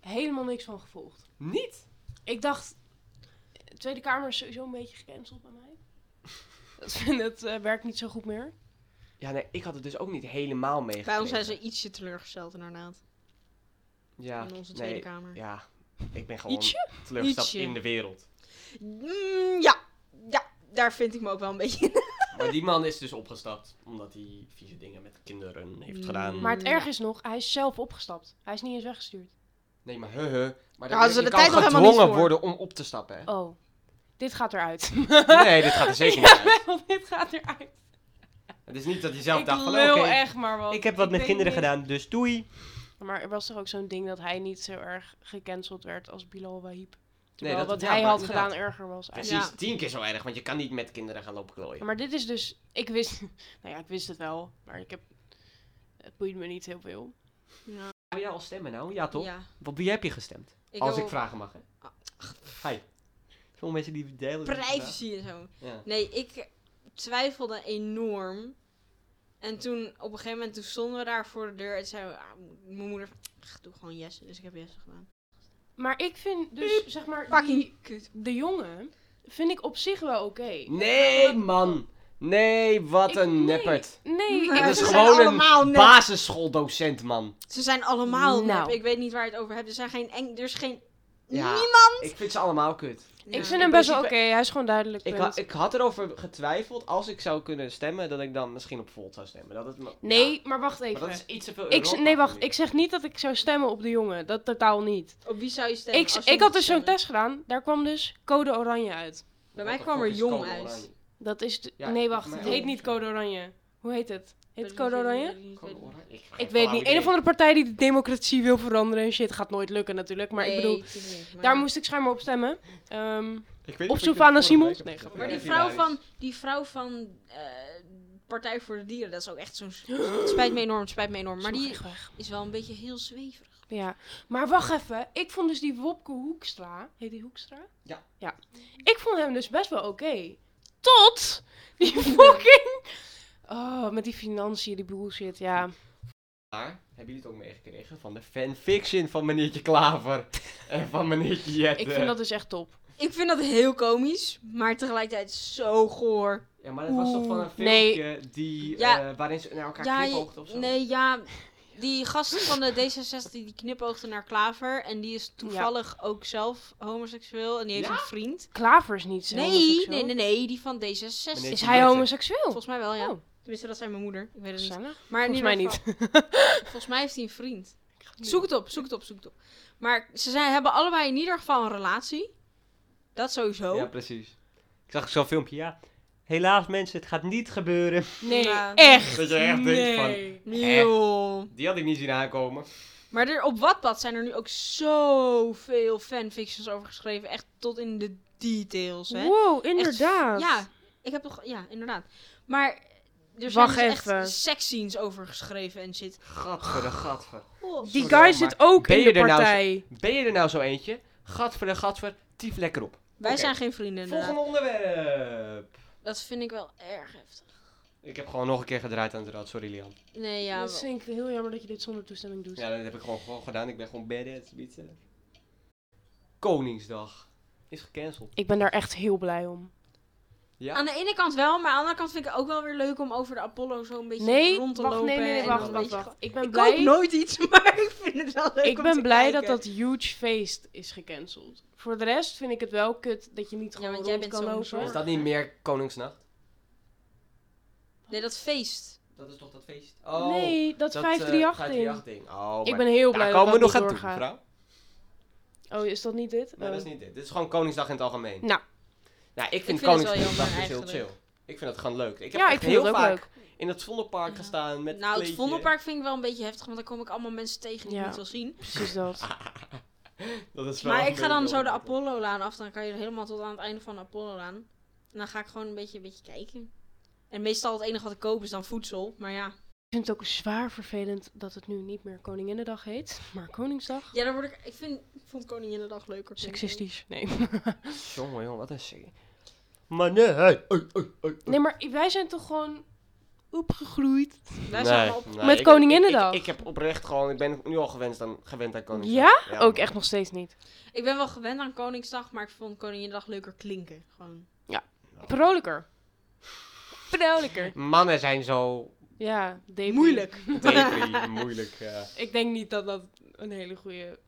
[SPEAKER 1] helemaal niks van gevolgd.
[SPEAKER 3] Niet?
[SPEAKER 1] Ik dacht, de Tweede Kamer is sowieso een beetje gecanceld bij mij. Dat, vind- dat eh, werkt niet zo goed meer.
[SPEAKER 3] Ja, nee, ik had het dus ook niet helemaal meegekregen.
[SPEAKER 2] Bij ons zijn ze ietsje teleurgesteld inderdaad.
[SPEAKER 3] Ja,
[SPEAKER 2] in onze Tweede
[SPEAKER 3] nee,
[SPEAKER 2] Kamer.
[SPEAKER 3] Ja, ik ben gewoon
[SPEAKER 1] Ietsje?
[SPEAKER 3] teleurgesteld
[SPEAKER 2] Ietsje.
[SPEAKER 3] in de wereld.
[SPEAKER 2] Mm, ja. ja, daar vind ik me ook wel een beetje in.
[SPEAKER 3] Maar die man is dus opgestapt omdat hij vieze dingen met kinderen heeft gedaan.
[SPEAKER 1] Maar het
[SPEAKER 2] Ja.
[SPEAKER 1] erg is nog, hij is zelf opgestapt. Hij is niet eens weggestuurd.
[SPEAKER 3] Nee, maar he he. Maar
[SPEAKER 2] Daar hadden ze
[SPEAKER 3] je
[SPEAKER 2] de
[SPEAKER 3] kan
[SPEAKER 2] tijd nog helemaal niet
[SPEAKER 3] gedwongen
[SPEAKER 2] voor.
[SPEAKER 3] worden om op te stappen. Hè?
[SPEAKER 1] Oh, dit gaat eruit.
[SPEAKER 3] Nee, dit gaat er zeker niet uit.
[SPEAKER 1] Ja, want dit gaat eruit.
[SPEAKER 3] Het is niet dat je zelf
[SPEAKER 1] ik
[SPEAKER 3] dacht van oké.
[SPEAKER 1] lul echt maar wat.
[SPEAKER 4] Ik heb wat met
[SPEAKER 1] weet
[SPEAKER 4] kinderen
[SPEAKER 1] niet.
[SPEAKER 4] gedaan, dus doei.
[SPEAKER 1] Maar er was toch ook zo'n ding dat hij niet zo erg gecanceld werd als Bilal Wahib. Terwijl
[SPEAKER 3] dat-
[SPEAKER 1] wat
[SPEAKER 3] ja,
[SPEAKER 1] hij
[SPEAKER 3] maar
[SPEAKER 1] had
[SPEAKER 3] inderdaad.
[SPEAKER 1] gedaan erger was. eigenlijk.
[SPEAKER 3] Precies, tien keer zo erg, want je kan niet met kinderen gaan lopen klooien.
[SPEAKER 1] Ja, maar dit is dus... Ik wist... Nou ja, ik wist het wel. Maar ik heb... Het boeit me niet heel veel.
[SPEAKER 2] Ja.
[SPEAKER 3] Wil jij al stemmen nou? Ja toch?
[SPEAKER 2] ja.
[SPEAKER 3] Op wie heb je gestemd?
[SPEAKER 2] Ik
[SPEAKER 3] Als
[SPEAKER 2] wil
[SPEAKER 3] ik vragen mag hè. Hi. Veel mensen die delen. dit vandaag.
[SPEAKER 2] privacy en zo.
[SPEAKER 3] Ja.
[SPEAKER 2] Nee, ik twijfelde enorm. En toen, op een gegeven moment, toen stonden we daar voor de deur en zei ah, m- mijn moeder, "Ach, doe gewoon Jesse. Dus ik heb Jesse gedaan.
[SPEAKER 1] Maar ik vind dus, zeg maar, die-
[SPEAKER 2] Fucking kut.
[SPEAKER 1] de jongen vind ik op zich wel oké.
[SPEAKER 3] Nee, man. Nee, wat
[SPEAKER 1] Ik-
[SPEAKER 3] een
[SPEAKER 1] nee,
[SPEAKER 3] neppert.
[SPEAKER 1] Nee,
[SPEAKER 2] Nee,
[SPEAKER 1] ik
[SPEAKER 3] Dat is
[SPEAKER 2] ze
[SPEAKER 1] vind-
[SPEAKER 2] zijn
[SPEAKER 3] gewoon
[SPEAKER 2] allemaal
[SPEAKER 3] een
[SPEAKER 2] nep.
[SPEAKER 3] basisschooldocent, man.
[SPEAKER 2] Ze zijn allemaal
[SPEAKER 1] Nou.
[SPEAKER 2] nep. Ik weet niet waar je het over hebt. Er zijn geen eng... Er is geen...
[SPEAKER 3] Ja,
[SPEAKER 2] Nou, Niemand!
[SPEAKER 3] Ik vind ze allemaal kut.
[SPEAKER 1] Ik
[SPEAKER 2] Ja.
[SPEAKER 1] vind hem best wel oké,
[SPEAKER 3] principe-
[SPEAKER 1] hij is gewoon duidelijk.
[SPEAKER 3] Ik,
[SPEAKER 1] punt.
[SPEAKER 3] ha- ik had erover getwijfeld, als ik zou kunnen stemmen, dat ik dan misschien op Volt zou stemmen. Dat het, me-
[SPEAKER 1] nee,
[SPEAKER 3] Ja,
[SPEAKER 1] maar wacht even.
[SPEAKER 3] maar dat is iets te veel
[SPEAKER 1] ik, z-
[SPEAKER 3] Europa
[SPEAKER 1] nee,
[SPEAKER 3] voor
[SPEAKER 1] wacht,
[SPEAKER 3] nu.
[SPEAKER 1] ik zeg niet dat ik zou stemmen op de jongen. Dat totaal niet.
[SPEAKER 2] Op wie zou je stemmen?
[SPEAKER 1] Ik,
[SPEAKER 2] als
[SPEAKER 1] z-
[SPEAKER 2] je
[SPEAKER 1] ik had
[SPEAKER 2] moet
[SPEAKER 1] dus zo'n
[SPEAKER 2] stemmen?
[SPEAKER 1] test gedaan, daar kwam dus code oranje uit.
[SPEAKER 2] Bij
[SPEAKER 3] What
[SPEAKER 2] mij
[SPEAKER 3] the
[SPEAKER 2] kwam
[SPEAKER 3] fuck
[SPEAKER 2] er
[SPEAKER 3] is
[SPEAKER 2] jong
[SPEAKER 3] code
[SPEAKER 2] uit.
[SPEAKER 3] oranje?
[SPEAKER 1] Dat is. de-
[SPEAKER 3] Ja,
[SPEAKER 1] nee,
[SPEAKER 3] ik-
[SPEAKER 1] wacht,
[SPEAKER 3] mij
[SPEAKER 1] het
[SPEAKER 3] ook.
[SPEAKER 1] heet niet code oranje. Hoe heet het? Heet het code oranje?
[SPEAKER 3] Code oranje? Ik,
[SPEAKER 1] Ik weet niet. Een of andere partij die de democratie wil veranderen en shit gaat nooit lukken natuurlijk. Maar ik bedoel, daar moest ik schijnbaar op stemmen. Ehm, Of of ik Sylvana dit vorige Simons? week heb Nee, gezegd.
[SPEAKER 2] Maar die
[SPEAKER 3] Ja,
[SPEAKER 2] vrouw
[SPEAKER 3] hilarisch.
[SPEAKER 2] van, die vrouw van eh, Partij voor de Dieren, dat is ook echt zo'n... Het spijt me enorm, het spijt me enorm. Maar
[SPEAKER 1] sloeg
[SPEAKER 2] die
[SPEAKER 1] echt weg.
[SPEAKER 2] is wel een beetje heel zweverig.
[SPEAKER 1] Ja, maar wacht even. Ik vond dus die Wopke Hoekstra. Heet die Hoekstra?
[SPEAKER 3] Ja.
[SPEAKER 1] ja. Ik vond hem dus best wel oké. Tot die fucking. Oh, met die financiën, die bullshit, ja.
[SPEAKER 3] Maar, hebben jullie het ook meegekregen van de fanfiction van meneertje Klaver en van meneertje Jette?
[SPEAKER 1] Ik vind dat dus echt top.
[SPEAKER 2] Ik vind dat heel komisch, maar tegelijkertijd zo goor.
[SPEAKER 3] Ja, maar dat was toch van een
[SPEAKER 1] Oeh, nee.
[SPEAKER 3] filmpje die,
[SPEAKER 2] Ja.
[SPEAKER 3] eh, waarin ze naar elkaar
[SPEAKER 2] Ja,
[SPEAKER 3] knipoogden of zo?
[SPEAKER 2] Nee, ja... Die gast van de D66 die knipoogde naar Klaver. En die is toevallig ook zelf homoseksueel. En die heeft
[SPEAKER 3] Ja?
[SPEAKER 2] een vriend.
[SPEAKER 1] Klaver is niet zo.
[SPEAKER 2] Nee,
[SPEAKER 1] homoseksueel.
[SPEAKER 2] nee, nee, nee. Die van D66.
[SPEAKER 3] Meneer
[SPEAKER 1] Is
[SPEAKER 3] Jeetje
[SPEAKER 1] hij
[SPEAKER 3] Jeetje.
[SPEAKER 1] homoseksueel?
[SPEAKER 2] Volgens mij wel, ja.
[SPEAKER 1] Oh.
[SPEAKER 2] Tenminste, dat zijn mijn moeder. Ik weet het niet.
[SPEAKER 1] Gezellig.
[SPEAKER 2] Maar in
[SPEAKER 1] Volgens
[SPEAKER 2] ieder
[SPEAKER 1] mij niet.
[SPEAKER 2] geval- Volgens mij heeft hij een vriend. Zoek het op, zoek het op, zoek het op. Maar ze zijn, hebben allebei in ieder geval een relatie. Dat sowieso.
[SPEAKER 3] Ja, precies.
[SPEAKER 4] Ik zag zo'n filmpje, ja. Helaas mensen, het gaat niet gebeuren.
[SPEAKER 1] Nee,
[SPEAKER 2] Ja.
[SPEAKER 1] echt.
[SPEAKER 3] Dat je echt denkt van-
[SPEAKER 1] Nee.
[SPEAKER 2] Joh.
[SPEAKER 3] Die had ik niet zien aankomen.
[SPEAKER 2] Maar er, op Wattpad zijn er nu ook zoveel fanfictions over geschreven. Echt tot in de details, hè.
[SPEAKER 1] Wow,
[SPEAKER 2] Echt-
[SPEAKER 1] inderdaad.
[SPEAKER 2] ja, ik heb toch... Ja, inderdaad. Maar er zijn
[SPEAKER 1] Wacht
[SPEAKER 2] dus
[SPEAKER 1] even.
[SPEAKER 2] echt seksscenes over geschreven en shit.
[SPEAKER 3] Gadver de gadver.
[SPEAKER 2] Oh,
[SPEAKER 1] Die
[SPEAKER 3] Sorry,
[SPEAKER 1] guy
[SPEAKER 3] maar
[SPEAKER 1] zit ook
[SPEAKER 3] ben
[SPEAKER 1] in
[SPEAKER 3] je
[SPEAKER 1] de
[SPEAKER 3] er nou zo-
[SPEAKER 1] partij.
[SPEAKER 3] Ben je er nou zo eentje? Gadver de gadver, tief lekker op.
[SPEAKER 2] Wij
[SPEAKER 3] Oké.
[SPEAKER 2] zijn geen
[SPEAKER 1] nou.
[SPEAKER 2] vrienden, eh. inderdaad.
[SPEAKER 3] Volgende onderwerp.
[SPEAKER 2] Dat vind ik wel erg heftig.
[SPEAKER 3] Ik heb gewoon nog een keer gedraaid aan de rad, sorry Lian.
[SPEAKER 2] Nee, ja.
[SPEAKER 1] Ja,
[SPEAKER 2] wel.
[SPEAKER 1] dat vind ik heel jammer dat je dit zonder toestemming doet.
[SPEAKER 3] Ja, dat heb ik gewoon, gewoon gedaan. Ik ben gewoon badass. weet je. Koningsdag is gecanceld.
[SPEAKER 1] Ik ben daar echt heel blij om.
[SPEAKER 3] Ja.
[SPEAKER 2] Aan de ene kant wel, maar aan de andere kant vind ik het ook wel weer leuk om over de Apollo zo een beetje
[SPEAKER 1] Nee,
[SPEAKER 2] rond te
[SPEAKER 1] wacht,
[SPEAKER 2] lopen.
[SPEAKER 1] nee, nee, nee,
[SPEAKER 2] en
[SPEAKER 1] wacht,
[SPEAKER 2] een
[SPEAKER 1] wacht,
[SPEAKER 2] beetje-
[SPEAKER 1] wacht. Ik ben
[SPEAKER 2] Ik
[SPEAKER 1] blij,
[SPEAKER 2] koop nooit iets, maar ik vind het wel leuk
[SPEAKER 1] ik
[SPEAKER 2] om
[SPEAKER 1] ben
[SPEAKER 2] te
[SPEAKER 1] blij dat
[SPEAKER 2] kijken.
[SPEAKER 1] dat huge feest is gecanceld. Voor de rest vind ik het wel kut dat je niet
[SPEAKER 2] Ja,
[SPEAKER 1] gewoon
[SPEAKER 2] want jij
[SPEAKER 1] rond
[SPEAKER 2] bent
[SPEAKER 1] kan
[SPEAKER 2] zo'n
[SPEAKER 1] lopen.
[SPEAKER 2] soort-
[SPEAKER 3] Is dat niet meer Koningsnacht?
[SPEAKER 2] Nee, dat feest.
[SPEAKER 3] Dat is toch dat feest? Oh,
[SPEAKER 1] nee, dat,
[SPEAKER 3] eh,
[SPEAKER 1] 538 ding.
[SPEAKER 3] 538 ding. Oh,
[SPEAKER 1] Ik
[SPEAKER 3] maar
[SPEAKER 1] ben heel blij
[SPEAKER 3] daar
[SPEAKER 1] dat
[SPEAKER 3] komen we
[SPEAKER 1] dat
[SPEAKER 3] nog
[SPEAKER 1] niet
[SPEAKER 3] aan toe,
[SPEAKER 1] doorgaat.
[SPEAKER 3] mevrouw.
[SPEAKER 1] Oh, is dat niet dit?
[SPEAKER 3] Nee,
[SPEAKER 1] Oh.
[SPEAKER 3] dat is niet dit. Dit is gewoon Koningsdag in het algemeen.
[SPEAKER 1] Nou.
[SPEAKER 3] Nou, ik
[SPEAKER 2] vind
[SPEAKER 3] vind,
[SPEAKER 2] het wel
[SPEAKER 3] Koningsdag
[SPEAKER 2] jammer
[SPEAKER 3] dus heel chill.
[SPEAKER 2] eigenlijk.
[SPEAKER 3] Ik vind het gewoon leuk. Ik heb
[SPEAKER 1] ja,
[SPEAKER 3] echt
[SPEAKER 1] ik vind
[SPEAKER 3] heel
[SPEAKER 1] het ook
[SPEAKER 3] vaak
[SPEAKER 1] leuk.
[SPEAKER 3] in het Vondelpark
[SPEAKER 2] Ja.
[SPEAKER 3] gestaan met
[SPEAKER 2] nou, het
[SPEAKER 3] kleedje.
[SPEAKER 2] Vondelpark vind ik wel een beetje heftig, want dan kom ik allemaal mensen tegen die
[SPEAKER 1] Ja.
[SPEAKER 2] ik niet wil zien.
[SPEAKER 1] Precies dat.
[SPEAKER 3] Dat is wel
[SPEAKER 2] Maar
[SPEAKER 3] een
[SPEAKER 2] ik ga dan
[SPEAKER 3] beetje
[SPEAKER 2] zo
[SPEAKER 3] ongemakkelijk.
[SPEAKER 2] de Apollo-laan af, dan kan je helemaal tot aan het einde van de Apollo-laan. En dan ga ik gewoon een beetje, een beetje kijken. En meestal het enige wat ik koop is dan voedsel, maar ja.
[SPEAKER 1] Ik vind het ook zwaar vervelend dat het nu niet meer Koninginnedag heet, maar Koningsdag.
[SPEAKER 2] Ja, dan word ik... Ik, vind, ik vond Koninginnedag leuker.
[SPEAKER 1] Sexistisch. Nee.
[SPEAKER 3] Jongen, jongen, wat een sick.
[SPEAKER 4] Maar nee. hey.
[SPEAKER 1] nee, maar wij zijn toch gewoon opgegroeid.
[SPEAKER 2] Daar zijn we op.
[SPEAKER 1] Met
[SPEAKER 3] ik-
[SPEAKER 1] Koninginnedag.
[SPEAKER 3] Ik, ik, ik heb oprecht gewoon, ik ben nu al gewend aan, gewend aan
[SPEAKER 1] Ja?
[SPEAKER 3] Koningsdag. Ja?
[SPEAKER 1] Ook echt nog steeds niet.
[SPEAKER 2] Ik ben wel gewend aan Koningsdag, maar ik vond Koninginnedag leuker klinken. Gewoon.
[SPEAKER 1] Vrolijker. Vrolijker.
[SPEAKER 3] Mannen zijn zo
[SPEAKER 1] Ja, depri.
[SPEAKER 2] Moeilijk.
[SPEAKER 3] depri, moeilijk. eh.
[SPEAKER 1] Ik denk niet dat dat een hele goede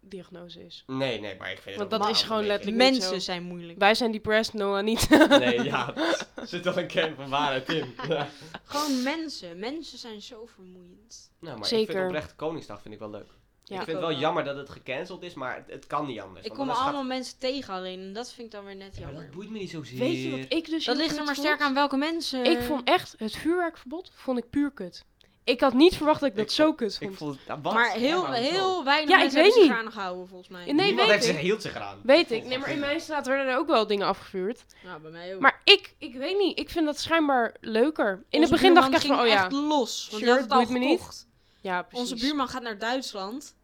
[SPEAKER 1] diagnose is.
[SPEAKER 3] Nee, nee, maar ik vind het
[SPEAKER 1] Want dat
[SPEAKER 3] ook
[SPEAKER 1] is
[SPEAKER 3] wel
[SPEAKER 1] gewoon
[SPEAKER 3] een beetje-
[SPEAKER 1] Klinkt
[SPEAKER 2] Mensen
[SPEAKER 1] niet zo.
[SPEAKER 2] zijn moeilijk.
[SPEAKER 1] Wij zijn depressed, Noah niet.
[SPEAKER 3] Nee, ja, er zit wel een kern van waarheid in. Ja.
[SPEAKER 2] Gewoon mensen. Mensen zijn zo vermoeiend.
[SPEAKER 3] Nou, maar ik
[SPEAKER 1] Zeker.
[SPEAKER 3] vind oprecht Koningsdag vind ik wel leuk.
[SPEAKER 1] Ja.
[SPEAKER 3] ik vind het wel jammer dat het gecanceld is, maar het, het kan niet anders.
[SPEAKER 2] Ik
[SPEAKER 3] want
[SPEAKER 2] kom
[SPEAKER 3] anders
[SPEAKER 2] allemaal mensen tegen alleen. En dat vind ik dan weer net
[SPEAKER 3] gaat- Ja, maar
[SPEAKER 2] jammer.
[SPEAKER 3] dat boeit me niet zozeer.
[SPEAKER 1] Weet je wat ik
[SPEAKER 2] Dat
[SPEAKER 1] dus heel
[SPEAKER 2] ligt er
[SPEAKER 1] kut
[SPEAKER 2] maar
[SPEAKER 1] vond?
[SPEAKER 2] sterk aan eh, welke mensen.
[SPEAKER 1] Ik vond echt, het vuurwerkverbod vond ik puur kut. Ik had niet verwacht dat ik dat
[SPEAKER 3] Ik
[SPEAKER 1] zo kut
[SPEAKER 3] Ik
[SPEAKER 1] vond.
[SPEAKER 3] voel het...
[SPEAKER 2] Maar heel, heel weinig
[SPEAKER 1] Ja, ik
[SPEAKER 2] mensen hebben
[SPEAKER 1] weet
[SPEAKER 2] zich
[SPEAKER 1] niet.
[SPEAKER 2] aan gehouden, volgens mij.
[SPEAKER 1] Nee,
[SPEAKER 3] Niemand
[SPEAKER 1] weet
[SPEAKER 3] heeft zich,
[SPEAKER 1] ik.
[SPEAKER 3] hield zich eraan.
[SPEAKER 1] Weet ik. Nee, maar in mijn straat werden er ook wel dingen afgevuurd.
[SPEAKER 2] Nou, bij mij ook.
[SPEAKER 1] Maar ik, ik weet niet. Ik vind dat schijnbaar leuker. In het
[SPEAKER 2] Onze
[SPEAKER 1] begin dacht ik
[SPEAKER 2] buurman
[SPEAKER 1] echt van, oh
[SPEAKER 2] ging echt
[SPEAKER 1] ja.
[SPEAKER 2] los. Want
[SPEAKER 1] Sure,
[SPEAKER 2] je had het al
[SPEAKER 1] boeit me niet.
[SPEAKER 2] gekocht.
[SPEAKER 1] Ja, precies.
[SPEAKER 2] Onze buurman gaat naar Duitsland.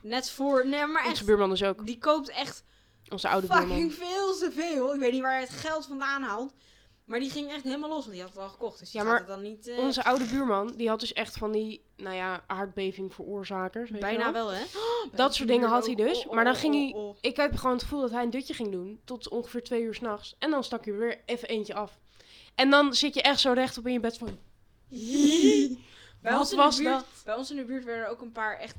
[SPEAKER 2] Net voor... Nee, maar
[SPEAKER 1] Onze
[SPEAKER 2] echt...
[SPEAKER 1] buurman is ook.
[SPEAKER 2] Die koopt echt
[SPEAKER 1] Onze oude buurman.
[SPEAKER 2] fucking veel te veel. Ik weet niet waar hij het geld vandaan haalt. Maar die ging echt helemaal los, want die had het al gekocht. Dus die
[SPEAKER 1] Ja,
[SPEAKER 2] gaat
[SPEAKER 1] maar
[SPEAKER 2] het dan niet... eh,
[SPEAKER 1] Onze oude buurman, die had dus echt van die, nou ja, aardbeving veroorzakers. Weet je
[SPEAKER 2] bijna
[SPEAKER 1] wel.
[SPEAKER 2] wel, hè?
[SPEAKER 1] Dat soort dingen had hij dus, maar dan ging hij-
[SPEAKER 2] Oh, oh.
[SPEAKER 1] Ik heb gewoon het gevoel dat hij een dutje ging doen tot ongeveer twee uur s'nachts. En dan stak hij weer even eentje af. En dan zit je echt zo rechtop in je bed van...
[SPEAKER 2] Bij
[SPEAKER 1] Wat
[SPEAKER 2] ons in de
[SPEAKER 1] was
[SPEAKER 2] buurt-
[SPEAKER 1] dat?
[SPEAKER 2] Bij ons in de buurt werden er ook een paar echt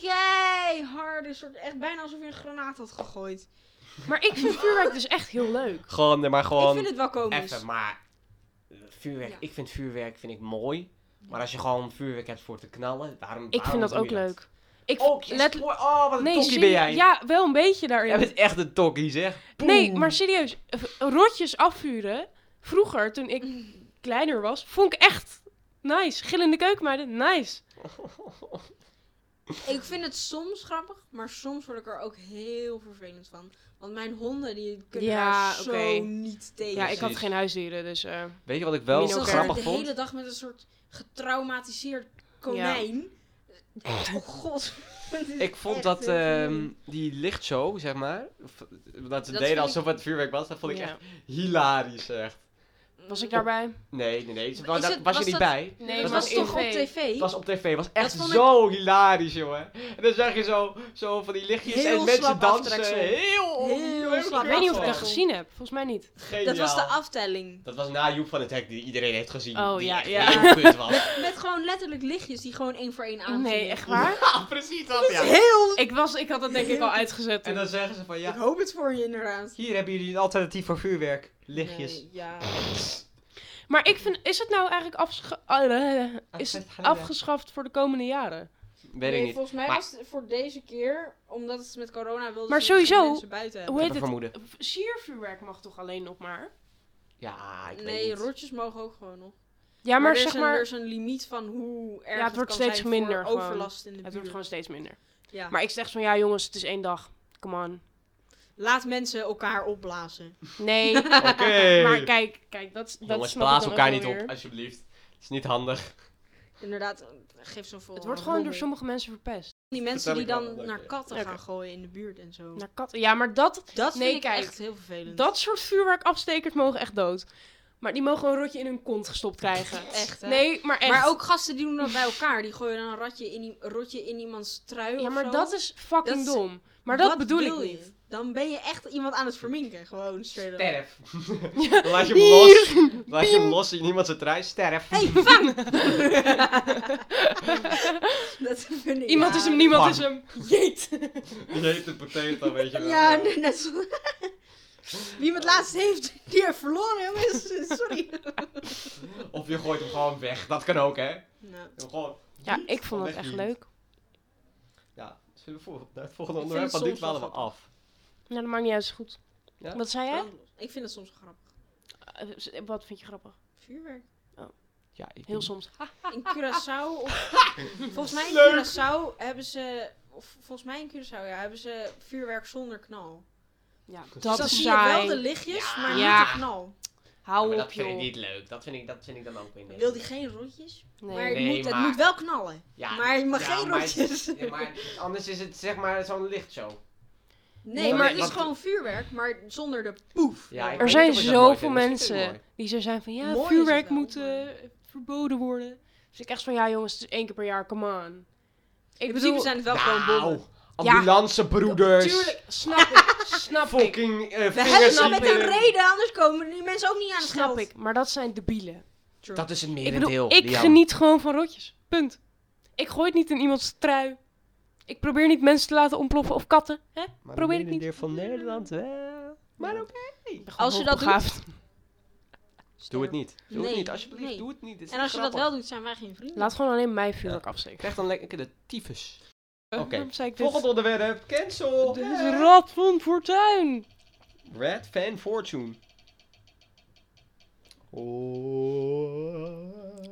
[SPEAKER 2] keiharde soort... Echt bijna alsof je een granaat had gegooid.
[SPEAKER 1] Maar ik vind vuurwerk dus echt heel leuk.
[SPEAKER 4] Gewoon, nee, maar
[SPEAKER 2] ik vind
[SPEAKER 4] gewoon
[SPEAKER 2] het wel komisch.
[SPEAKER 3] Even, maar eh, vuurwerk,
[SPEAKER 2] Ja.
[SPEAKER 3] ik vind vuurwerk vind ik mooi. Maar als je gewoon vuurwerk hebt voor te knallen, waarom
[SPEAKER 1] Ik vind
[SPEAKER 3] waarom
[SPEAKER 1] dat
[SPEAKER 3] doe
[SPEAKER 1] ook
[SPEAKER 3] je dat?
[SPEAKER 1] leuk. Ik
[SPEAKER 3] Ook,
[SPEAKER 1] vind-
[SPEAKER 3] je spoor- oh, wat een
[SPEAKER 1] nee,
[SPEAKER 3] tokkie
[SPEAKER 1] serie-
[SPEAKER 3] ben jij.
[SPEAKER 1] Ja, wel een beetje daarin.
[SPEAKER 3] Jij bent echt een tokkie, zeg.
[SPEAKER 1] Nee,
[SPEAKER 3] Boem.
[SPEAKER 1] maar serieus, v- rotjes afvuren. Vroeger, toen ik kleiner was, vond ik echt nice. Gillende keukenmeiden, nice.
[SPEAKER 2] Ik vind het soms grappig, maar soms word ik er ook heel vervelend van. Want mijn honden die kunnen
[SPEAKER 1] Ja,
[SPEAKER 2] daar zo
[SPEAKER 1] oké.
[SPEAKER 2] niet tegen.
[SPEAKER 1] Ja, ik had
[SPEAKER 3] Precies.
[SPEAKER 1] geen huisdieren, dus... eh,
[SPEAKER 3] Weet je wat ik wel
[SPEAKER 1] Mino
[SPEAKER 2] Soms
[SPEAKER 3] grappig
[SPEAKER 2] de
[SPEAKER 3] vond?
[SPEAKER 2] hele dag met een soort getraumatiseerd konijn. Oh god. Het is
[SPEAKER 3] Ik vond
[SPEAKER 2] echt
[SPEAKER 3] dat
[SPEAKER 2] heel
[SPEAKER 3] ehm,
[SPEAKER 2] vervelend.
[SPEAKER 3] die lichtshow, zeg maar, of, eh, dat ze
[SPEAKER 2] Dat
[SPEAKER 3] deden
[SPEAKER 2] vind
[SPEAKER 3] alsof het vuurwerk was, dat vond ik
[SPEAKER 1] ja.
[SPEAKER 3] echt hilarisch, echt.
[SPEAKER 1] Was ik daarbij?
[SPEAKER 3] Nee, nee, nee, ze-
[SPEAKER 2] Is
[SPEAKER 3] daar-
[SPEAKER 2] het-
[SPEAKER 3] was,
[SPEAKER 2] was
[SPEAKER 3] je niet
[SPEAKER 2] dat-
[SPEAKER 3] bij.
[SPEAKER 2] dat,
[SPEAKER 3] dat
[SPEAKER 2] was,
[SPEAKER 3] was
[SPEAKER 2] toch
[SPEAKER 1] in-
[SPEAKER 2] op tv?
[SPEAKER 3] Het was op tv, het was echt
[SPEAKER 2] vond ik-
[SPEAKER 3] zo hilarisch, jongen. En dan zag je zo, zo van die lichtjes
[SPEAKER 2] Heel
[SPEAKER 3] en mensen
[SPEAKER 2] slap
[SPEAKER 3] dansen.
[SPEAKER 2] aftreksel.
[SPEAKER 3] Heel,
[SPEAKER 2] Heel slap
[SPEAKER 1] Ik weet niet of ik dat
[SPEAKER 2] aftreksel.
[SPEAKER 1] gezien heb. Volgens mij niet.
[SPEAKER 3] Geniaal.
[SPEAKER 2] dat was de aftelling.
[SPEAKER 3] Dat was na Joep van het Hek, die iedereen heeft gezien.
[SPEAKER 1] Oh,
[SPEAKER 3] die
[SPEAKER 1] ja,
[SPEAKER 3] echt
[SPEAKER 1] ja.
[SPEAKER 3] heel kut was.
[SPEAKER 2] Met gewoon letterlijk lichtjes die gewoon één voor één aan.
[SPEAKER 1] Nee, echt waar?
[SPEAKER 3] Ja, precies dat, ja.
[SPEAKER 2] Heel.
[SPEAKER 1] Ik, was, ik had dat denk ik al uitgezet.
[SPEAKER 3] En
[SPEAKER 1] toen.
[SPEAKER 3] dan zeggen ze van,
[SPEAKER 2] Ik
[SPEAKER 3] ja,
[SPEAKER 2] hoop het voor je inderdaad.
[SPEAKER 4] hier hebben jullie een alternatief voor vuurwerk. Lichtjes.
[SPEAKER 2] Nee, ja.
[SPEAKER 1] Maar ik vind, is het nou eigenlijk afscha- eh, is het afgeschaft voor de komende jaren?
[SPEAKER 3] weet ik
[SPEAKER 2] Nee,
[SPEAKER 3] niet.
[SPEAKER 2] Volgens mij
[SPEAKER 3] Maar-
[SPEAKER 2] was het voor deze keer, omdat het met corona wilde.
[SPEAKER 1] Maar sowieso,
[SPEAKER 2] mensen buiten hebben.
[SPEAKER 1] Hoe
[SPEAKER 3] heb
[SPEAKER 1] heet
[SPEAKER 3] een
[SPEAKER 1] het?
[SPEAKER 3] vermoeden.
[SPEAKER 1] V- Siervuurwerk mag toch alleen nog maar?
[SPEAKER 3] Ja, ik weet
[SPEAKER 2] Nee,
[SPEAKER 3] niet.
[SPEAKER 2] rotjes mogen ook gewoon nog.
[SPEAKER 1] Ja, maar,
[SPEAKER 2] er is
[SPEAKER 1] zeg
[SPEAKER 2] een-
[SPEAKER 1] maar,
[SPEAKER 2] Er is een limiet van hoe erg
[SPEAKER 1] het wordt
[SPEAKER 2] kan
[SPEAKER 1] steeds
[SPEAKER 2] zijn
[SPEAKER 1] minder
[SPEAKER 2] voor
[SPEAKER 1] gewoon.
[SPEAKER 2] overlast in de
[SPEAKER 1] het
[SPEAKER 2] buurt.
[SPEAKER 1] wordt gewoon steeds minder.
[SPEAKER 2] Ja.
[SPEAKER 1] Maar ik zeg van, ja jongens, het is één dag. Come on.
[SPEAKER 2] Laat mensen elkaar opblazen.
[SPEAKER 1] Nee,
[SPEAKER 3] Oké.
[SPEAKER 1] maar kijk, kijk, dat, dat
[SPEAKER 3] Jongens,
[SPEAKER 1] snap
[SPEAKER 3] blaas
[SPEAKER 1] ik dan
[SPEAKER 3] elkaar
[SPEAKER 1] ook
[SPEAKER 3] niet
[SPEAKER 1] wel weer.
[SPEAKER 3] op, alsjeblieft. Het is niet handig.
[SPEAKER 2] Inderdaad, geef zoveel.
[SPEAKER 1] Het wordt
[SPEAKER 2] aan
[SPEAKER 1] gewoon door
[SPEAKER 2] Oh, rommel.
[SPEAKER 1] sommige mensen verpest.
[SPEAKER 2] Die
[SPEAKER 3] Vertel
[SPEAKER 2] mensen die
[SPEAKER 3] ik wel
[SPEAKER 2] dan
[SPEAKER 3] wat leuk,
[SPEAKER 2] naar
[SPEAKER 3] ja.
[SPEAKER 2] katten
[SPEAKER 1] Oké.
[SPEAKER 2] gaan gooien in de buurt en zo.
[SPEAKER 1] Naar katten. Ja, maar dat,
[SPEAKER 2] Dat
[SPEAKER 1] Nee,
[SPEAKER 2] vind ik
[SPEAKER 1] kijk,
[SPEAKER 2] echt heel vervelend.
[SPEAKER 1] dat soort vuurwerkafstekers mogen echt dood. Maar die mogen een rotje in hun kont gestopt krijgen.
[SPEAKER 2] echt, hè?
[SPEAKER 1] Nee, maar echt.
[SPEAKER 2] Maar ook gasten die doen dat bij elkaar. Die gooien dan een ratje in, i- rotje in iemands trui
[SPEAKER 1] Ja,
[SPEAKER 2] of
[SPEAKER 1] maar
[SPEAKER 2] zo.
[SPEAKER 1] dat is fucking
[SPEAKER 2] Dat is-
[SPEAKER 1] dom. Maar dat
[SPEAKER 2] Wat
[SPEAKER 1] bedoel
[SPEAKER 2] wil
[SPEAKER 1] ik
[SPEAKER 2] je?
[SPEAKER 1] niet.
[SPEAKER 2] Dan ben je echt iemand aan het verminken. Gewoon straight up.
[SPEAKER 3] Sterf. Dan laat je hem los. Dan Laat je hem los in iemand zijn trui. Sterf.
[SPEAKER 2] Hey, vang! dat vind ik
[SPEAKER 1] Iemand
[SPEAKER 2] ja.
[SPEAKER 1] is hem, niemand
[SPEAKER 3] Man.
[SPEAKER 1] is hem. Jeet.
[SPEAKER 3] Je heet een potato, weet je wel.
[SPEAKER 2] Ja, nee, net zo. Wie hem het laatst heeft, die heeft verloren, jongens. Sorry.
[SPEAKER 3] Of je gooit hem gewoon weg. Dat kan ook, hè.
[SPEAKER 2] Nou,
[SPEAKER 3] Gewoon.
[SPEAKER 1] Ja, ik vond dat echt
[SPEAKER 3] Wegdoen.
[SPEAKER 1] leuk.
[SPEAKER 3] Ja, zullen we voor, naar het volgende
[SPEAKER 2] Ik vind
[SPEAKER 3] onderwerp,
[SPEAKER 2] het
[SPEAKER 3] want dit
[SPEAKER 2] soms wel
[SPEAKER 3] dwalen we af.
[SPEAKER 1] Nou, dat maakt niet uit, is goed.
[SPEAKER 3] Ja?
[SPEAKER 1] Wat zei jij?
[SPEAKER 2] ik vind het soms wel grappig.
[SPEAKER 1] Eh, s- Wat vind je grappig?
[SPEAKER 2] Vuurwerk.
[SPEAKER 3] Ja, ik
[SPEAKER 1] Heel soms. Ha,
[SPEAKER 2] In Curaçao. Of, volgens mij in
[SPEAKER 3] Leuk.
[SPEAKER 2] Curaçao hebben ze. Of, volgens mij in Curaçao, ja, hebben ze vuurwerk zonder knal.
[SPEAKER 1] Ja,
[SPEAKER 2] Dus
[SPEAKER 1] dat
[SPEAKER 2] dan
[SPEAKER 1] is
[SPEAKER 2] zie je wel de
[SPEAKER 1] saai.
[SPEAKER 2] lichtjes,
[SPEAKER 3] Ja.
[SPEAKER 2] maar
[SPEAKER 1] Ja.
[SPEAKER 2] niet de knal.
[SPEAKER 3] Ja,
[SPEAKER 1] Hou
[SPEAKER 3] maar
[SPEAKER 1] op,
[SPEAKER 3] dat vind ik
[SPEAKER 1] joh.
[SPEAKER 3] niet leuk. Dat vind ik, dat vind ik dan ook weer niet.
[SPEAKER 2] Wil die geen rotjes? Maar,
[SPEAKER 1] Nee.
[SPEAKER 2] het,
[SPEAKER 3] Nee,
[SPEAKER 2] moet, het
[SPEAKER 3] maar-
[SPEAKER 2] moet wel knallen.
[SPEAKER 3] Ja,
[SPEAKER 2] maar je mag
[SPEAKER 3] ja,
[SPEAKER 2] geen
[SPEAKER 3] maar-
[SPEAKER 2] rotjes.
[SPEAKER 3] ja, maar anders is het zeg maar zo'n lichtshow.
[SPEAKER 2] Nee,
[SPEAKER 1] Nee,
[SPEAKER 2] maar
[SPEAKER 1] maar-
[SPEAKER 2] het is
[SPEAKER 3] want-
[SPEAKER 2] gewoon vuurwerk, maar zonder de poef.
[SPEAKER 3] Ja, ik
[SPEAKER 1] Er
[SPEAKER 3] weet
[SPEAKER 1] zijn
[SPEAKER 3] niet of ik dat mooi
[SPEAKER 1] zoveel
[SPEAKER 3] vind, maar misschien vind ik het
[SPEAKER 1] mensen die zo zijn van, ja,
[SPEAKER 2] Mooi is
[SPEAKER 1] vuurwerk
[SPEAKER 2] het wel,
[SPEAKER 1] moet
[SPEAKER 2] maar-
[SPEAKER 1] eh, verboden worden. Dus ik echt van, ja jongens, het is één keer per jaar, come on. Ik
[SPEAKER 2] In principe
[SPEAKER 1] bedoel,
[SPEAKER 2] zijn het wel gewoon
[SPEAKER 3] Nou,
[SPEAKER 2] bommen.
[SPEAKER 3] ambulancebroeders.
[SPEAKER 1] tuurlijk, snap ik, snap ik,
[SPEAKER 3] Fucking eh,
[SPEAKER 2] We
[SPEAKER 3] vingers
[SPEAKER 2] hebben
[SPEAKER 1] snap
[SPEAKER 2] ze
[SPEAKER 3] in
[SPEAKER 2] met
[SPEAKER 1] ik.
[SPEAKER 2] een reden, anders komen die mensen ook niet aan het
[SPEAKER 1] snap
[SPEAKER 2] geld.
[SPEAKER 1] ik. Maar dat zijn debielen.
[SPEAKER 2] True.
[SPEAKER 3] Dat is een
[SPEAKER 1] Ik bedoel,
[SPEAKER 3] merendeel.
[SPEAKER 1] ik
[SPEAKER 3] Liam.
[SPEAKER 1] geniet gewoon van rotjes. Punt. Ik gooi het niet in iemands trui. Ik probeer niet mensen te laten ontploffen of katten. Hè?
[SPEAKER 4] Maar
[SPEAKER 1] Probeer het niet.
[SPEAKER 4] deel van Nederland wel. Maar ook.
[SPEAKER 1] Ik ben gewoon
[SPEAKER 2] Als je dat
[SPEAKER 1] hoogbegaafd.
[SPEAKER 3] Doe het niet. Doe
[SPEAKER 2] Nee,
[SPEAKER 3] het niet, alsjeblieft.
[SPEAKER 2] nee.
[SPEAKER 3] Doe het niet. Dit is
[SPEAKER 2] En als
[SPEAKER 3] niet
[SPEAKER 2] je dat
[SPEAKER 3] grappig.
[SPEAKER 2] wel doet, zijn wij geen vrienden.
[SPEAKER 1] Laat gewoon alleen mijn vuurwerk afsteken.
[SPEAKER 3] Krijg dan lekker de tyfus.
[SPEAKER 1] Oké.
[SPEAKER 3] Oké.
[SPEAKER 1] Waarom zei ik dit?
[SPEAKER 3] Volgende onderwerp. Cancel.
[SPEAKER 1] Dit is Rad van Fortuin.
[SPEAKER 3] Red Fan Fortune.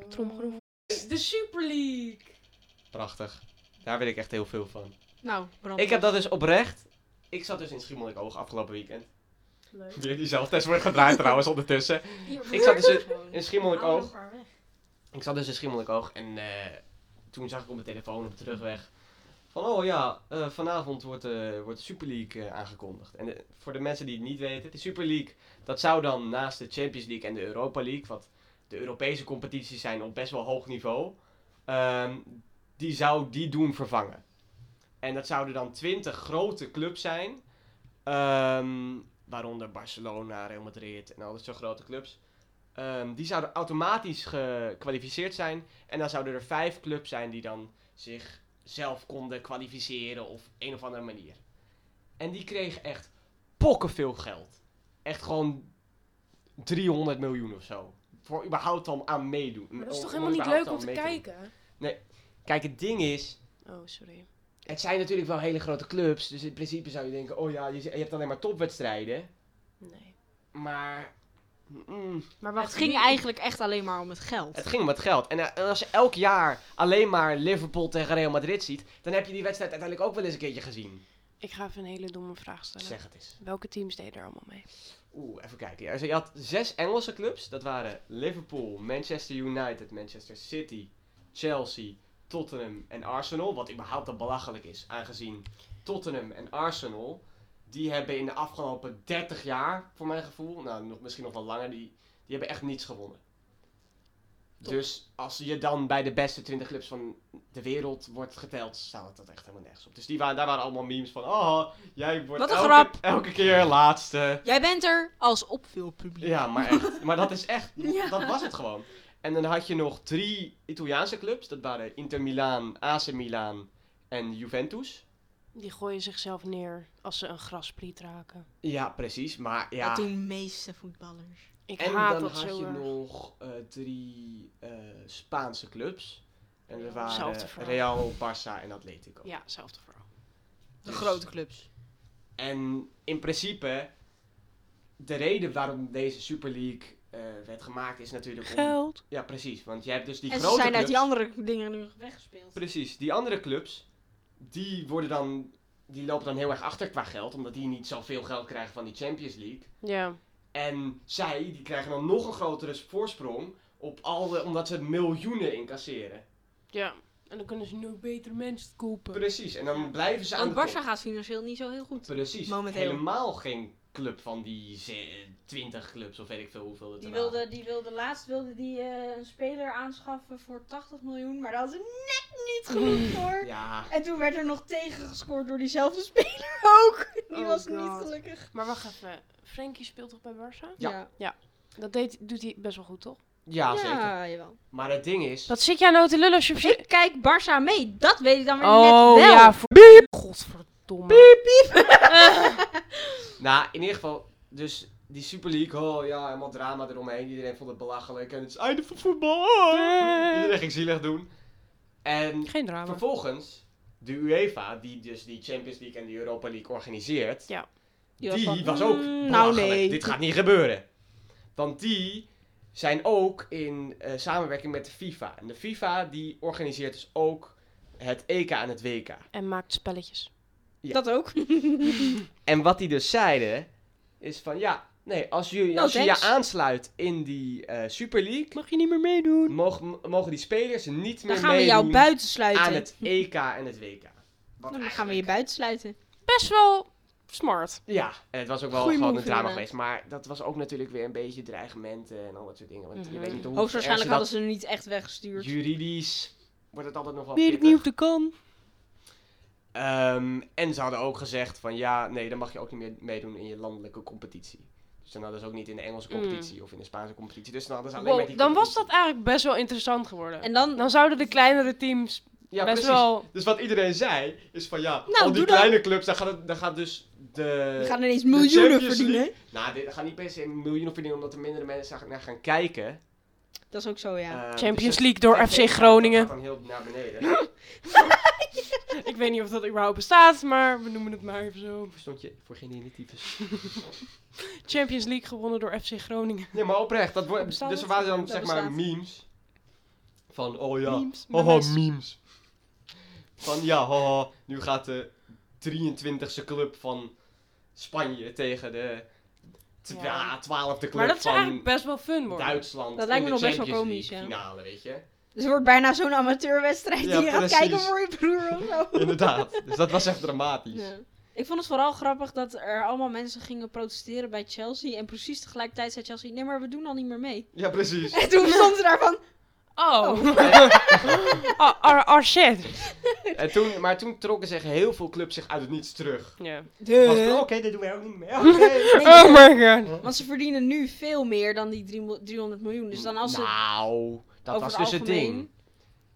[SPEAKER 1] Tromgeroef. De Super League.
[SPEAKER 3] Prachtig. Daar wil ik echt heel veel van.
[SPEAKER 2] Nou, brand.
[SPEAKER 3] Ik heb dat dus oprecht. Ik zat dus in Schiermonnikoog afgelopen weekend.
[SPEAKER 1] Leuk.
[SPEAKER 3] Weer die zelftest wordt gedraaid trouwens ondertussen. Ik zat dus in Schiermonnikoog. Ik zat dus in Schiermonnikoog en eh, toen zag ik op mijn telefoon op de terugweg Van, oh ja, eh, vanavond wordt, eh, wordt de Super League eh, aangekondigd. En eh, voor de mensen die het niet weten, de Super League, dat zou dan naast de Champions League en de Europa League, wat de Europese competities zijn op best wel hoog niveau, ehm, die zou die doen vervangen. En dat zouden dan 20 grote clubs zijn, ehm, waaronder Barcelona, Real Madrid en al dat soort grote clubs. Ehm, die zouden automatisch gekwalificeerd zijn. En dan zouden er vijf clubs zijn die dan zichzelf konden kwalificeren op een of andere manier. En die kregen echt pokkenveel geld. Echt gewoon 300 miljoen of zo. Voor überhaupt al aan meedoen.
[SPEAKER 1] Maar dat is
[SPEAKER 3] Om-
[SPEAKER 1] toch
[SPEAKER 3] om
[SPEAKER 1] helemaal niet
[SPEAKER 3] überhaupt
[SPEAKER 1] leuk om
[SPEAKER 3] oh, al
[SPEAKER 1] te
[SPEAKER 3] mee doen.
[SPEAKER 1] kijken?
[SPEAKER 3] Kijk, het ding is,
[SPEAKER 1] Oh, sorry.
[SPEAKER 3] het zijn natuurlijk wel hele grote clubs. Dus in principe zou je denken, oh ja, je, je hebt alleen maar topwedstrijden.
[SPEAKER 1] Nee.
[SPEAKER 3] Maar... mm,
[SPEAKER 1] Maar
[SPEAKER 2] Maar
[SPEAKER 1] wacht,
[SPEAKER 2] het ging
[SPEAKER 1] wie-
[SPEAKER 2] eigenlijk echt alleen maar om het geld.
[SPEAKER 3] Het ging om het geld. En eh, als je elk jaar alleen maar Liverpool tegen Real Madrid ziet, dan heb je die wedstrijd uiteindelijk ook wel eens een keertje gezien.
[SPEAKER 1] Ik ga even een hele domme vraag stellen.
[SPEAKER 3] Zeg het eens.
[SPEAKER 1] Welke teams deden er allemaal mee?
[SPEAKER 3] Oeh, even kijken. Ja, dus je had zes Engelse clubs. Dat waren Liverpool, Manchester United, Manchester City, Chelsea, Tottenham en Arsenal. Wat überhaupt al belachelijk is, aangezien Tottenham en Arsenal, die hebben in de afgelopen 30 jaar, voor mijn gevoel, nou nog, misschien nog wel langer, die, die hebben echt niets gewonnen.
[SPEAKER 1] Top.
[SPEAKER 3] Dus als je dan bij de beste 20 clubs van de wereld wordt geteld, staat dat echt helemaal nergens op. Dus die waren, daar waren allemaal memes van, oh, jij wordt
[SPEAKER 2] Wat een
[SPEAKER 3] elke,
[SPEAKER 2] grap.
[SPEAKER 3] elke keer laatste.
[SPEAKER 2] Jij bent er als opvulpubliek.
[SPEAKER 3] Ja, maar, echt, maar dat is echt,
[SPEAKER 2] Ja.
[SPEAKER 3] dat was het gewoon. En dan had je nog drie Italiaanse clubs. Dat waren Inter Milaan, AC Milaan en Juventus.
[SPEAKER 1] Die gooien zichzelf neer als ze een graspriet raken.
[SPEAKER 3] Ja, precies. Maar ja.
[SPEAKER 2] Dat doen meeste voetballers.
[SPEAKER 1] Ik
[SPEAKER 3] en
[SPEAKER 1] haat
[SPEAKER 3] dan
[SPEAKER 1] dat
[SPEAKER 3] had
[SPEAKER 1] zo
[SPEAKER 3] je
[SPEAKER 1] erg.
[SPEAKER 3] nog eh, drie eh, Spaanse clubs. En dat
[SPEAKER 1] Hetzelfde
[SPEAKER 3] waren
[SPEAKER 1] verhaal.
[SPEAKER 3] Real, Barça en Atletico.
[SPEAKER 1] Ja, zelfde verhaal.
[SPEAKER 2] De
[SPEAKER 3] Dus-
[SPEAKER 2] grote clubs.
[SPEAKER 3] En in principe, de reden waarom deze Super League eh, werd gemaakt is natuurlijk om...
[SPEAKER 1] Geld.
[SPEAKER 3] Ja, precies. Want je hebt dus die
[SPEAKER 2] en ze
[SPEAKER 3] grote
[SPEAKER 2] zijn uit die
[SPEAKER 3] clubs.
[SPEAKER 2] andere dingen nu weggespeeld.
[SPEAKER 3] Precies, die andere clubs, die worden dan, die lopen dan heel erg achter qua geld, omdat die niet zoveel geld krijgen van die Champions League.
[SPEAKER 1] Ja.
[SPEAKER 3] En zij, die krijgen dan nog een grotere voorsprong, op al de, omdat ze miljoenen incasseren.
[SPEAKER 1] Ja. En dan kunnen ze nog beter mensen kopen.
[SPEAKER 3] Precies, en dan blijven ze aan
[SPEAKER 2] Want
[SPEAKER 3] de top.
[SPEAKER 2] Barça gaat financieel niet zo heel goed.
[SPEAKER 3] Precies,
[SPEAKER 2] momenteel.
[SPEAKER 3] helemaal geen club van die ze- 20 clubs, of weet ik veel hoeveel het
[SPEAKER 2] Die
[SPEAKER 3] er
[SPEAKER 2] wilde, die wilde laatst wilde die, eh, een speler aanschaffen voor 80 miljoen, maar daar had ze net niet genoeg voor.
[SPEAKER 3] waren. nou- Ja,
[SPEAKER 2] En toen werd er nog tegengescoord door diezelfde speler ook. Die
[SPEAKER 1] Oh
[SPEAKER 2] was
[SPEAKER 1] God.
[SPEAKER 2] niet gelukkig.
[SPEAKER 1] Maar wacht even. Frenkie speelt toch bij Barça?
[SPEAKER 3] Ja.
[SPEAKER 1] Dat deed, doet hij best wel goed, toch?
[SPEAKER 3] ja, zeker.
[SPEAKER 2] jawel.
[SPEAKER 3] Maar het ding is,
[SPEAKER 1] Wat zit jij nou te lullen als je...
[SPEAKER 2] Ik kijk Barça mee, dat weet ik dan weer net
[SPEAKER 1] Oh,
[SPEAKER 2] wel.
[SPEAKER 1] ja. Voor... Godverdomme.
[SPEAKER 3] Nou, in ieder geval, dus die Super League, oh ja, helemaal drama eromheen. Iedereen vond het belachelijk en het is einde van voetbal. Oh.
[SPEAKER 1] Eh.
[SPEAKER 3] Iedereen ging zielig doen. En
[SPEAKER 1] Geen drama.
[SPEAKER 3] vervolgens, de UEFA, die dus die Champions League en de Europa League organiseert,
[SPEAKER 1] Ja.
[SPEAKER 3] die,
[SPEAKER 2] was
[SPEAKER 3] was,
[SPEAKER 2] van,
[SPEAKER 3] ook
[SPEAKER 2] mm, nou
[SPEAKER 3] belachelijk.
[SPEAKER 2] nee.
[SPEAKER 3] Dit gaat niet gebeuren. Want die zijn ook in eh, samenwerking met de FIFA. En de FIFA, die organiseert dus ook het EK en het WK.
[SPEAKER 1] En maakt spelletjes.
[SPEAKER 3] Ja.
[SPEAKER 2] Dat ook.
[SPEAKER 3] En wat die dus zeiden, is van ja, nee, als, jullie,
[SPEAKER 2] No
[SPEAKER 3] als je je
[SPEAKER 2] thanks.
[SPEAKER 3] aansluit in die eh Super League,
[SPEAKER 1] Mag je niet meer meedoen.
[SPEAKER 3] mogen, mogen die spelers niet
[SPEAKER 2] Dan
[SPEAKER 3] meer
[SPEAKER 2] gaan we jou
[SPEAKER 3] meedoen
[SPEAKER 2] buiten sluiten.
[SPEAKER 3] aan het EK en het WK. Wat
[SPEAKER 2] Dan gaan we je
[SPEAKER 3] eigenlijk-
[SPEAKER 2] buiten sluiten.
[SPEAKER 1] Best wel smart.
[SPEAKER 3] Ja, en het was ook wel
[SPEAKER 1] Goeie
[SPEAKER 3] gewoon
[SPEAKER 1] move,
[SPEAKER 3] een drama
[SPEAKER 2] inderdaad.
[SPEAKER 3] geweest, maar dat was ook natuurlijk weer een beetje dreigementen en al dat soort dingen. Want je
[SPEAKER 1] Mhm.
[SPEAKER 3] weet niet hoe
[SPEAKER 2] Hoogstwaarschijnlijk hadden
[SPEAKER 3] erg
[SPEAKER 2] ze hem niet echt
[SPEAKER 3] dat
[SPEAKER 2] weggestuurd.
[SPEAKER 3] juridisch wordt het altijd nog wel
[SPEAKER 1] Weet ik
[SPEAKER 3] pittig.
[SPEAKER 1] niet of dat
[SPEAKER 3] Nou,
[SPEAKER 1] kan.
[SPEAKER 3] Ehm, en ze hadden ook gezegd van ja, nee, dan mag je ook niet meer meedoen in je landelijke competitie. Dus dan hadden ze ook niet in de Engelse
[SPEAKER 1] Mm.
[SPEAKER 3] competitie of in de Spaanse competitie. Dus dan hadden ze alleen maar die
[SPEAKER 1] Wow, dan was dat
[SPEAKER 3] competitie.
[SPEAKER 1] eigenlijk best wel interessant geworden.
[SPEAKER 2] En dan,
[SPEAKER 1] Dan zouden de kleinere teams
[SPEAKER 3] ja,
[SPEAKER 1] best
[SPEAKER 3] precies.
[SPEAKER 1] wel...
[SPEAKER 3] Dus wat iedereen zei is van ja,
[SPEAKER 2] Nou,
[SPEAKER 3] al die
[SPEAKER 2] doe dan.
[SPEAKER 3] kleine clubs, dan gaat, het, dan gaat dus de...
[SPEAKER 2] we gaan ineens miljoenen
[SPEAKER 3] Champions
[SPEAKER 2] verdienen.
[SPEAKER 3] Nou, dit- dan gaan niet per se miljoenen verdienen omdat er mindere mensen gaan- naar gaan kijken.
[SPEAKER 2] Dat is ook zo, ja.
[SPEAKER 3] Eh, dus
[SPEAKER 1] Champions
[SPEAKER 3] het-
[SPEAKER 1] League door
[SPEAKER 3] het
[SPEAKER 1] FC
[SPEAKER 3] gaat
[SPEAKER 1] Groningen.
[SPEAKER 3] dan heel naar beneden.
[SPEAKER 1] Ik weet niet of dat überhaupt bestaat, maar we noemen het maar even zo.
[SPEAKER 3] Verstond je? Voor geen initiatiefs.
[SPEAKER 1] Champions League gewonnen door FC Groningen.
[SPEAKER 3] Ja, maar oprecht. Dat wordt,
[SPEAKER 1] Bestaat
[SPEAKER 3] dus er
[SPEAKER 1] dat?
[SPEAKER 3] waren dan
[SPEAKER 2] Dat
[SPEAKER 3] zeg maar
[SPEAKER 2] bestaat.
[SPEAKER 3] memes. Van, oh ja,
[SPEAKER 1] Memes,
[SPEAKER 3] Haha,
[SPEAKER 1] memes.
[SPEAKER 3] memes. Van ja, haha, nu gaat de 23e club van Spanje tegen de twa-
[SPEAKER 1] Ja.
[SPEAKER 3] 12e club
[SPEAKER 1] Maar dat is
[SPEAKER 3] van
[SPEAKER 1] eigenlijk best wel fun worden.
[SPEAKER 3] Duitsland.
[SPEAKER 2] Dat lijkt
[SPEAKER 3] in
[SPEAKER 2] me
[SPEAKER 3] de
[SPEAKER 2] nog best wel
[SPEAKER 3] Champions
[SPEAKER 2] komisch,
[SPEAKER 3] League
[SPEAKER 2] ja.
[SPEAKER 3] finale, weet je.
[SPEAKER 2] Dus het wordt bijna zo'n amateurwedstrijd
[SPEAKER 3] Ja,
[SPEAKER 2] die je gaat
[SPEAKER 3] precies.
[SPEAKER 2] kijken voor je broer of zo.
[SPEAKER 3] Inderdaad. Dus dat was echt dramatisch.
[SPEAKER 2] Ja. Ik vond het vooral grappig dat er allemaal mensen gingen protesteren bij Chelsea. En precies tegelijkertijd zei Chelsea, nee maar we doen al niet meer mee.
[SPEAKER 3] Ja, precies.
[SPEAKER 2] En toen stond ze daarvan,
[SPEAKER 1] Oh. Ah, ah, ah, shit.
[SPEAKER 3] En toen, maar toen trokken zich heel veel clubs zich uit het niets terug.
[SPEAKER 1] Ja.
[SPEAKER 2] Eh.
[SPEAKER 4] Was het, Oké, dit doen wij ook niet meer. Oké.
[SPEAKER 1] Oh my god.
[SPEAKER 2] want ze verdienen nu veel meer dan die drie mil- 300 miljoen. Dus dan als ze...
[SPEAKER 3] Nou, dat
[SPEAKER 2] over
[SPEAKER 3] was
[SPEAKER 2] het
[SPEAKER 3] dus het ding.
[SPEAKER 2] algemeen-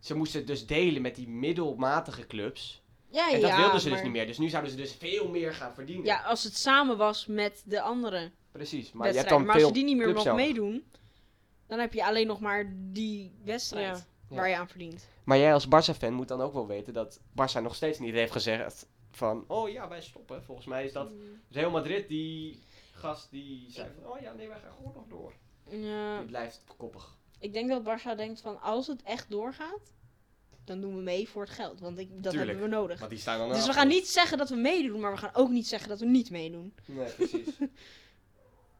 [SPEAKER 3] Ze moesten het dus delen met die middelmatige clubs.
[SPEAKER 2] Ja,
[SPEAKER 3] En dat
[SPEAKER 2] ja,
[SPEAKER 3] wilden ze dus
[SPEAKER 2] maar-
[SPEAKER 3] niet meer. Dus nu zouden ze dus veel meer gaan verdienen.
[SPEAKER 2] Ja, als het samen was met de andere
[SPEAKER 3] Precies. Maar je hebt
[SPEAKER 2] wedstrijd.
[SPEAKER 3] dan
[SPEAKER 2] Maar als
[SPEAKER 3] veel
[SPEAKER 2] je die niet meer
[SPEAKER 3] clubs
[SPEAKER 2] mag
[SPEAKER 3] nodig.
[SPEAKER 2] meedoen, dan heb je alleen nog maar die wedstrijd
[SPEAKER 3] Ja.
[SPEAKER 2] waar je aan verdient.
[SPEAKER 3] Maar jij als Barça-fan moet dan ook wel weten dat Barça nog steeds niet heeft gezegd van... Oh ja, wij stoppen. Volgens mij is dat
[SPEAKER 2] Mm.
[SPEAKER 3] Real Madrid die gast die zei van... Oh ja, nee, wij gaan gewoon nog door.
[SPEAKER 2] Ja,
[SPEAKER 3] Die blijft koppig.
[SPEAKER 2] ik denk dat Barça denkt van als het echt doorgaat, dan doen we mee voor het geld. Want ik, dat
[SPEAKER 3] Tuurlijk.
[SPEAKER 2] hebben we nodig.
[SPEAKER 3] Want die staan dan
[SPEAKER 2] Dus we
[SPEAKER 3] erachter.
[SPEAKER 2] gaan niet zeggen dat we meedoen, maar we gaan ook niet zeggen dat we niet meedoen.
[SPEAKER 3] Nee, precies.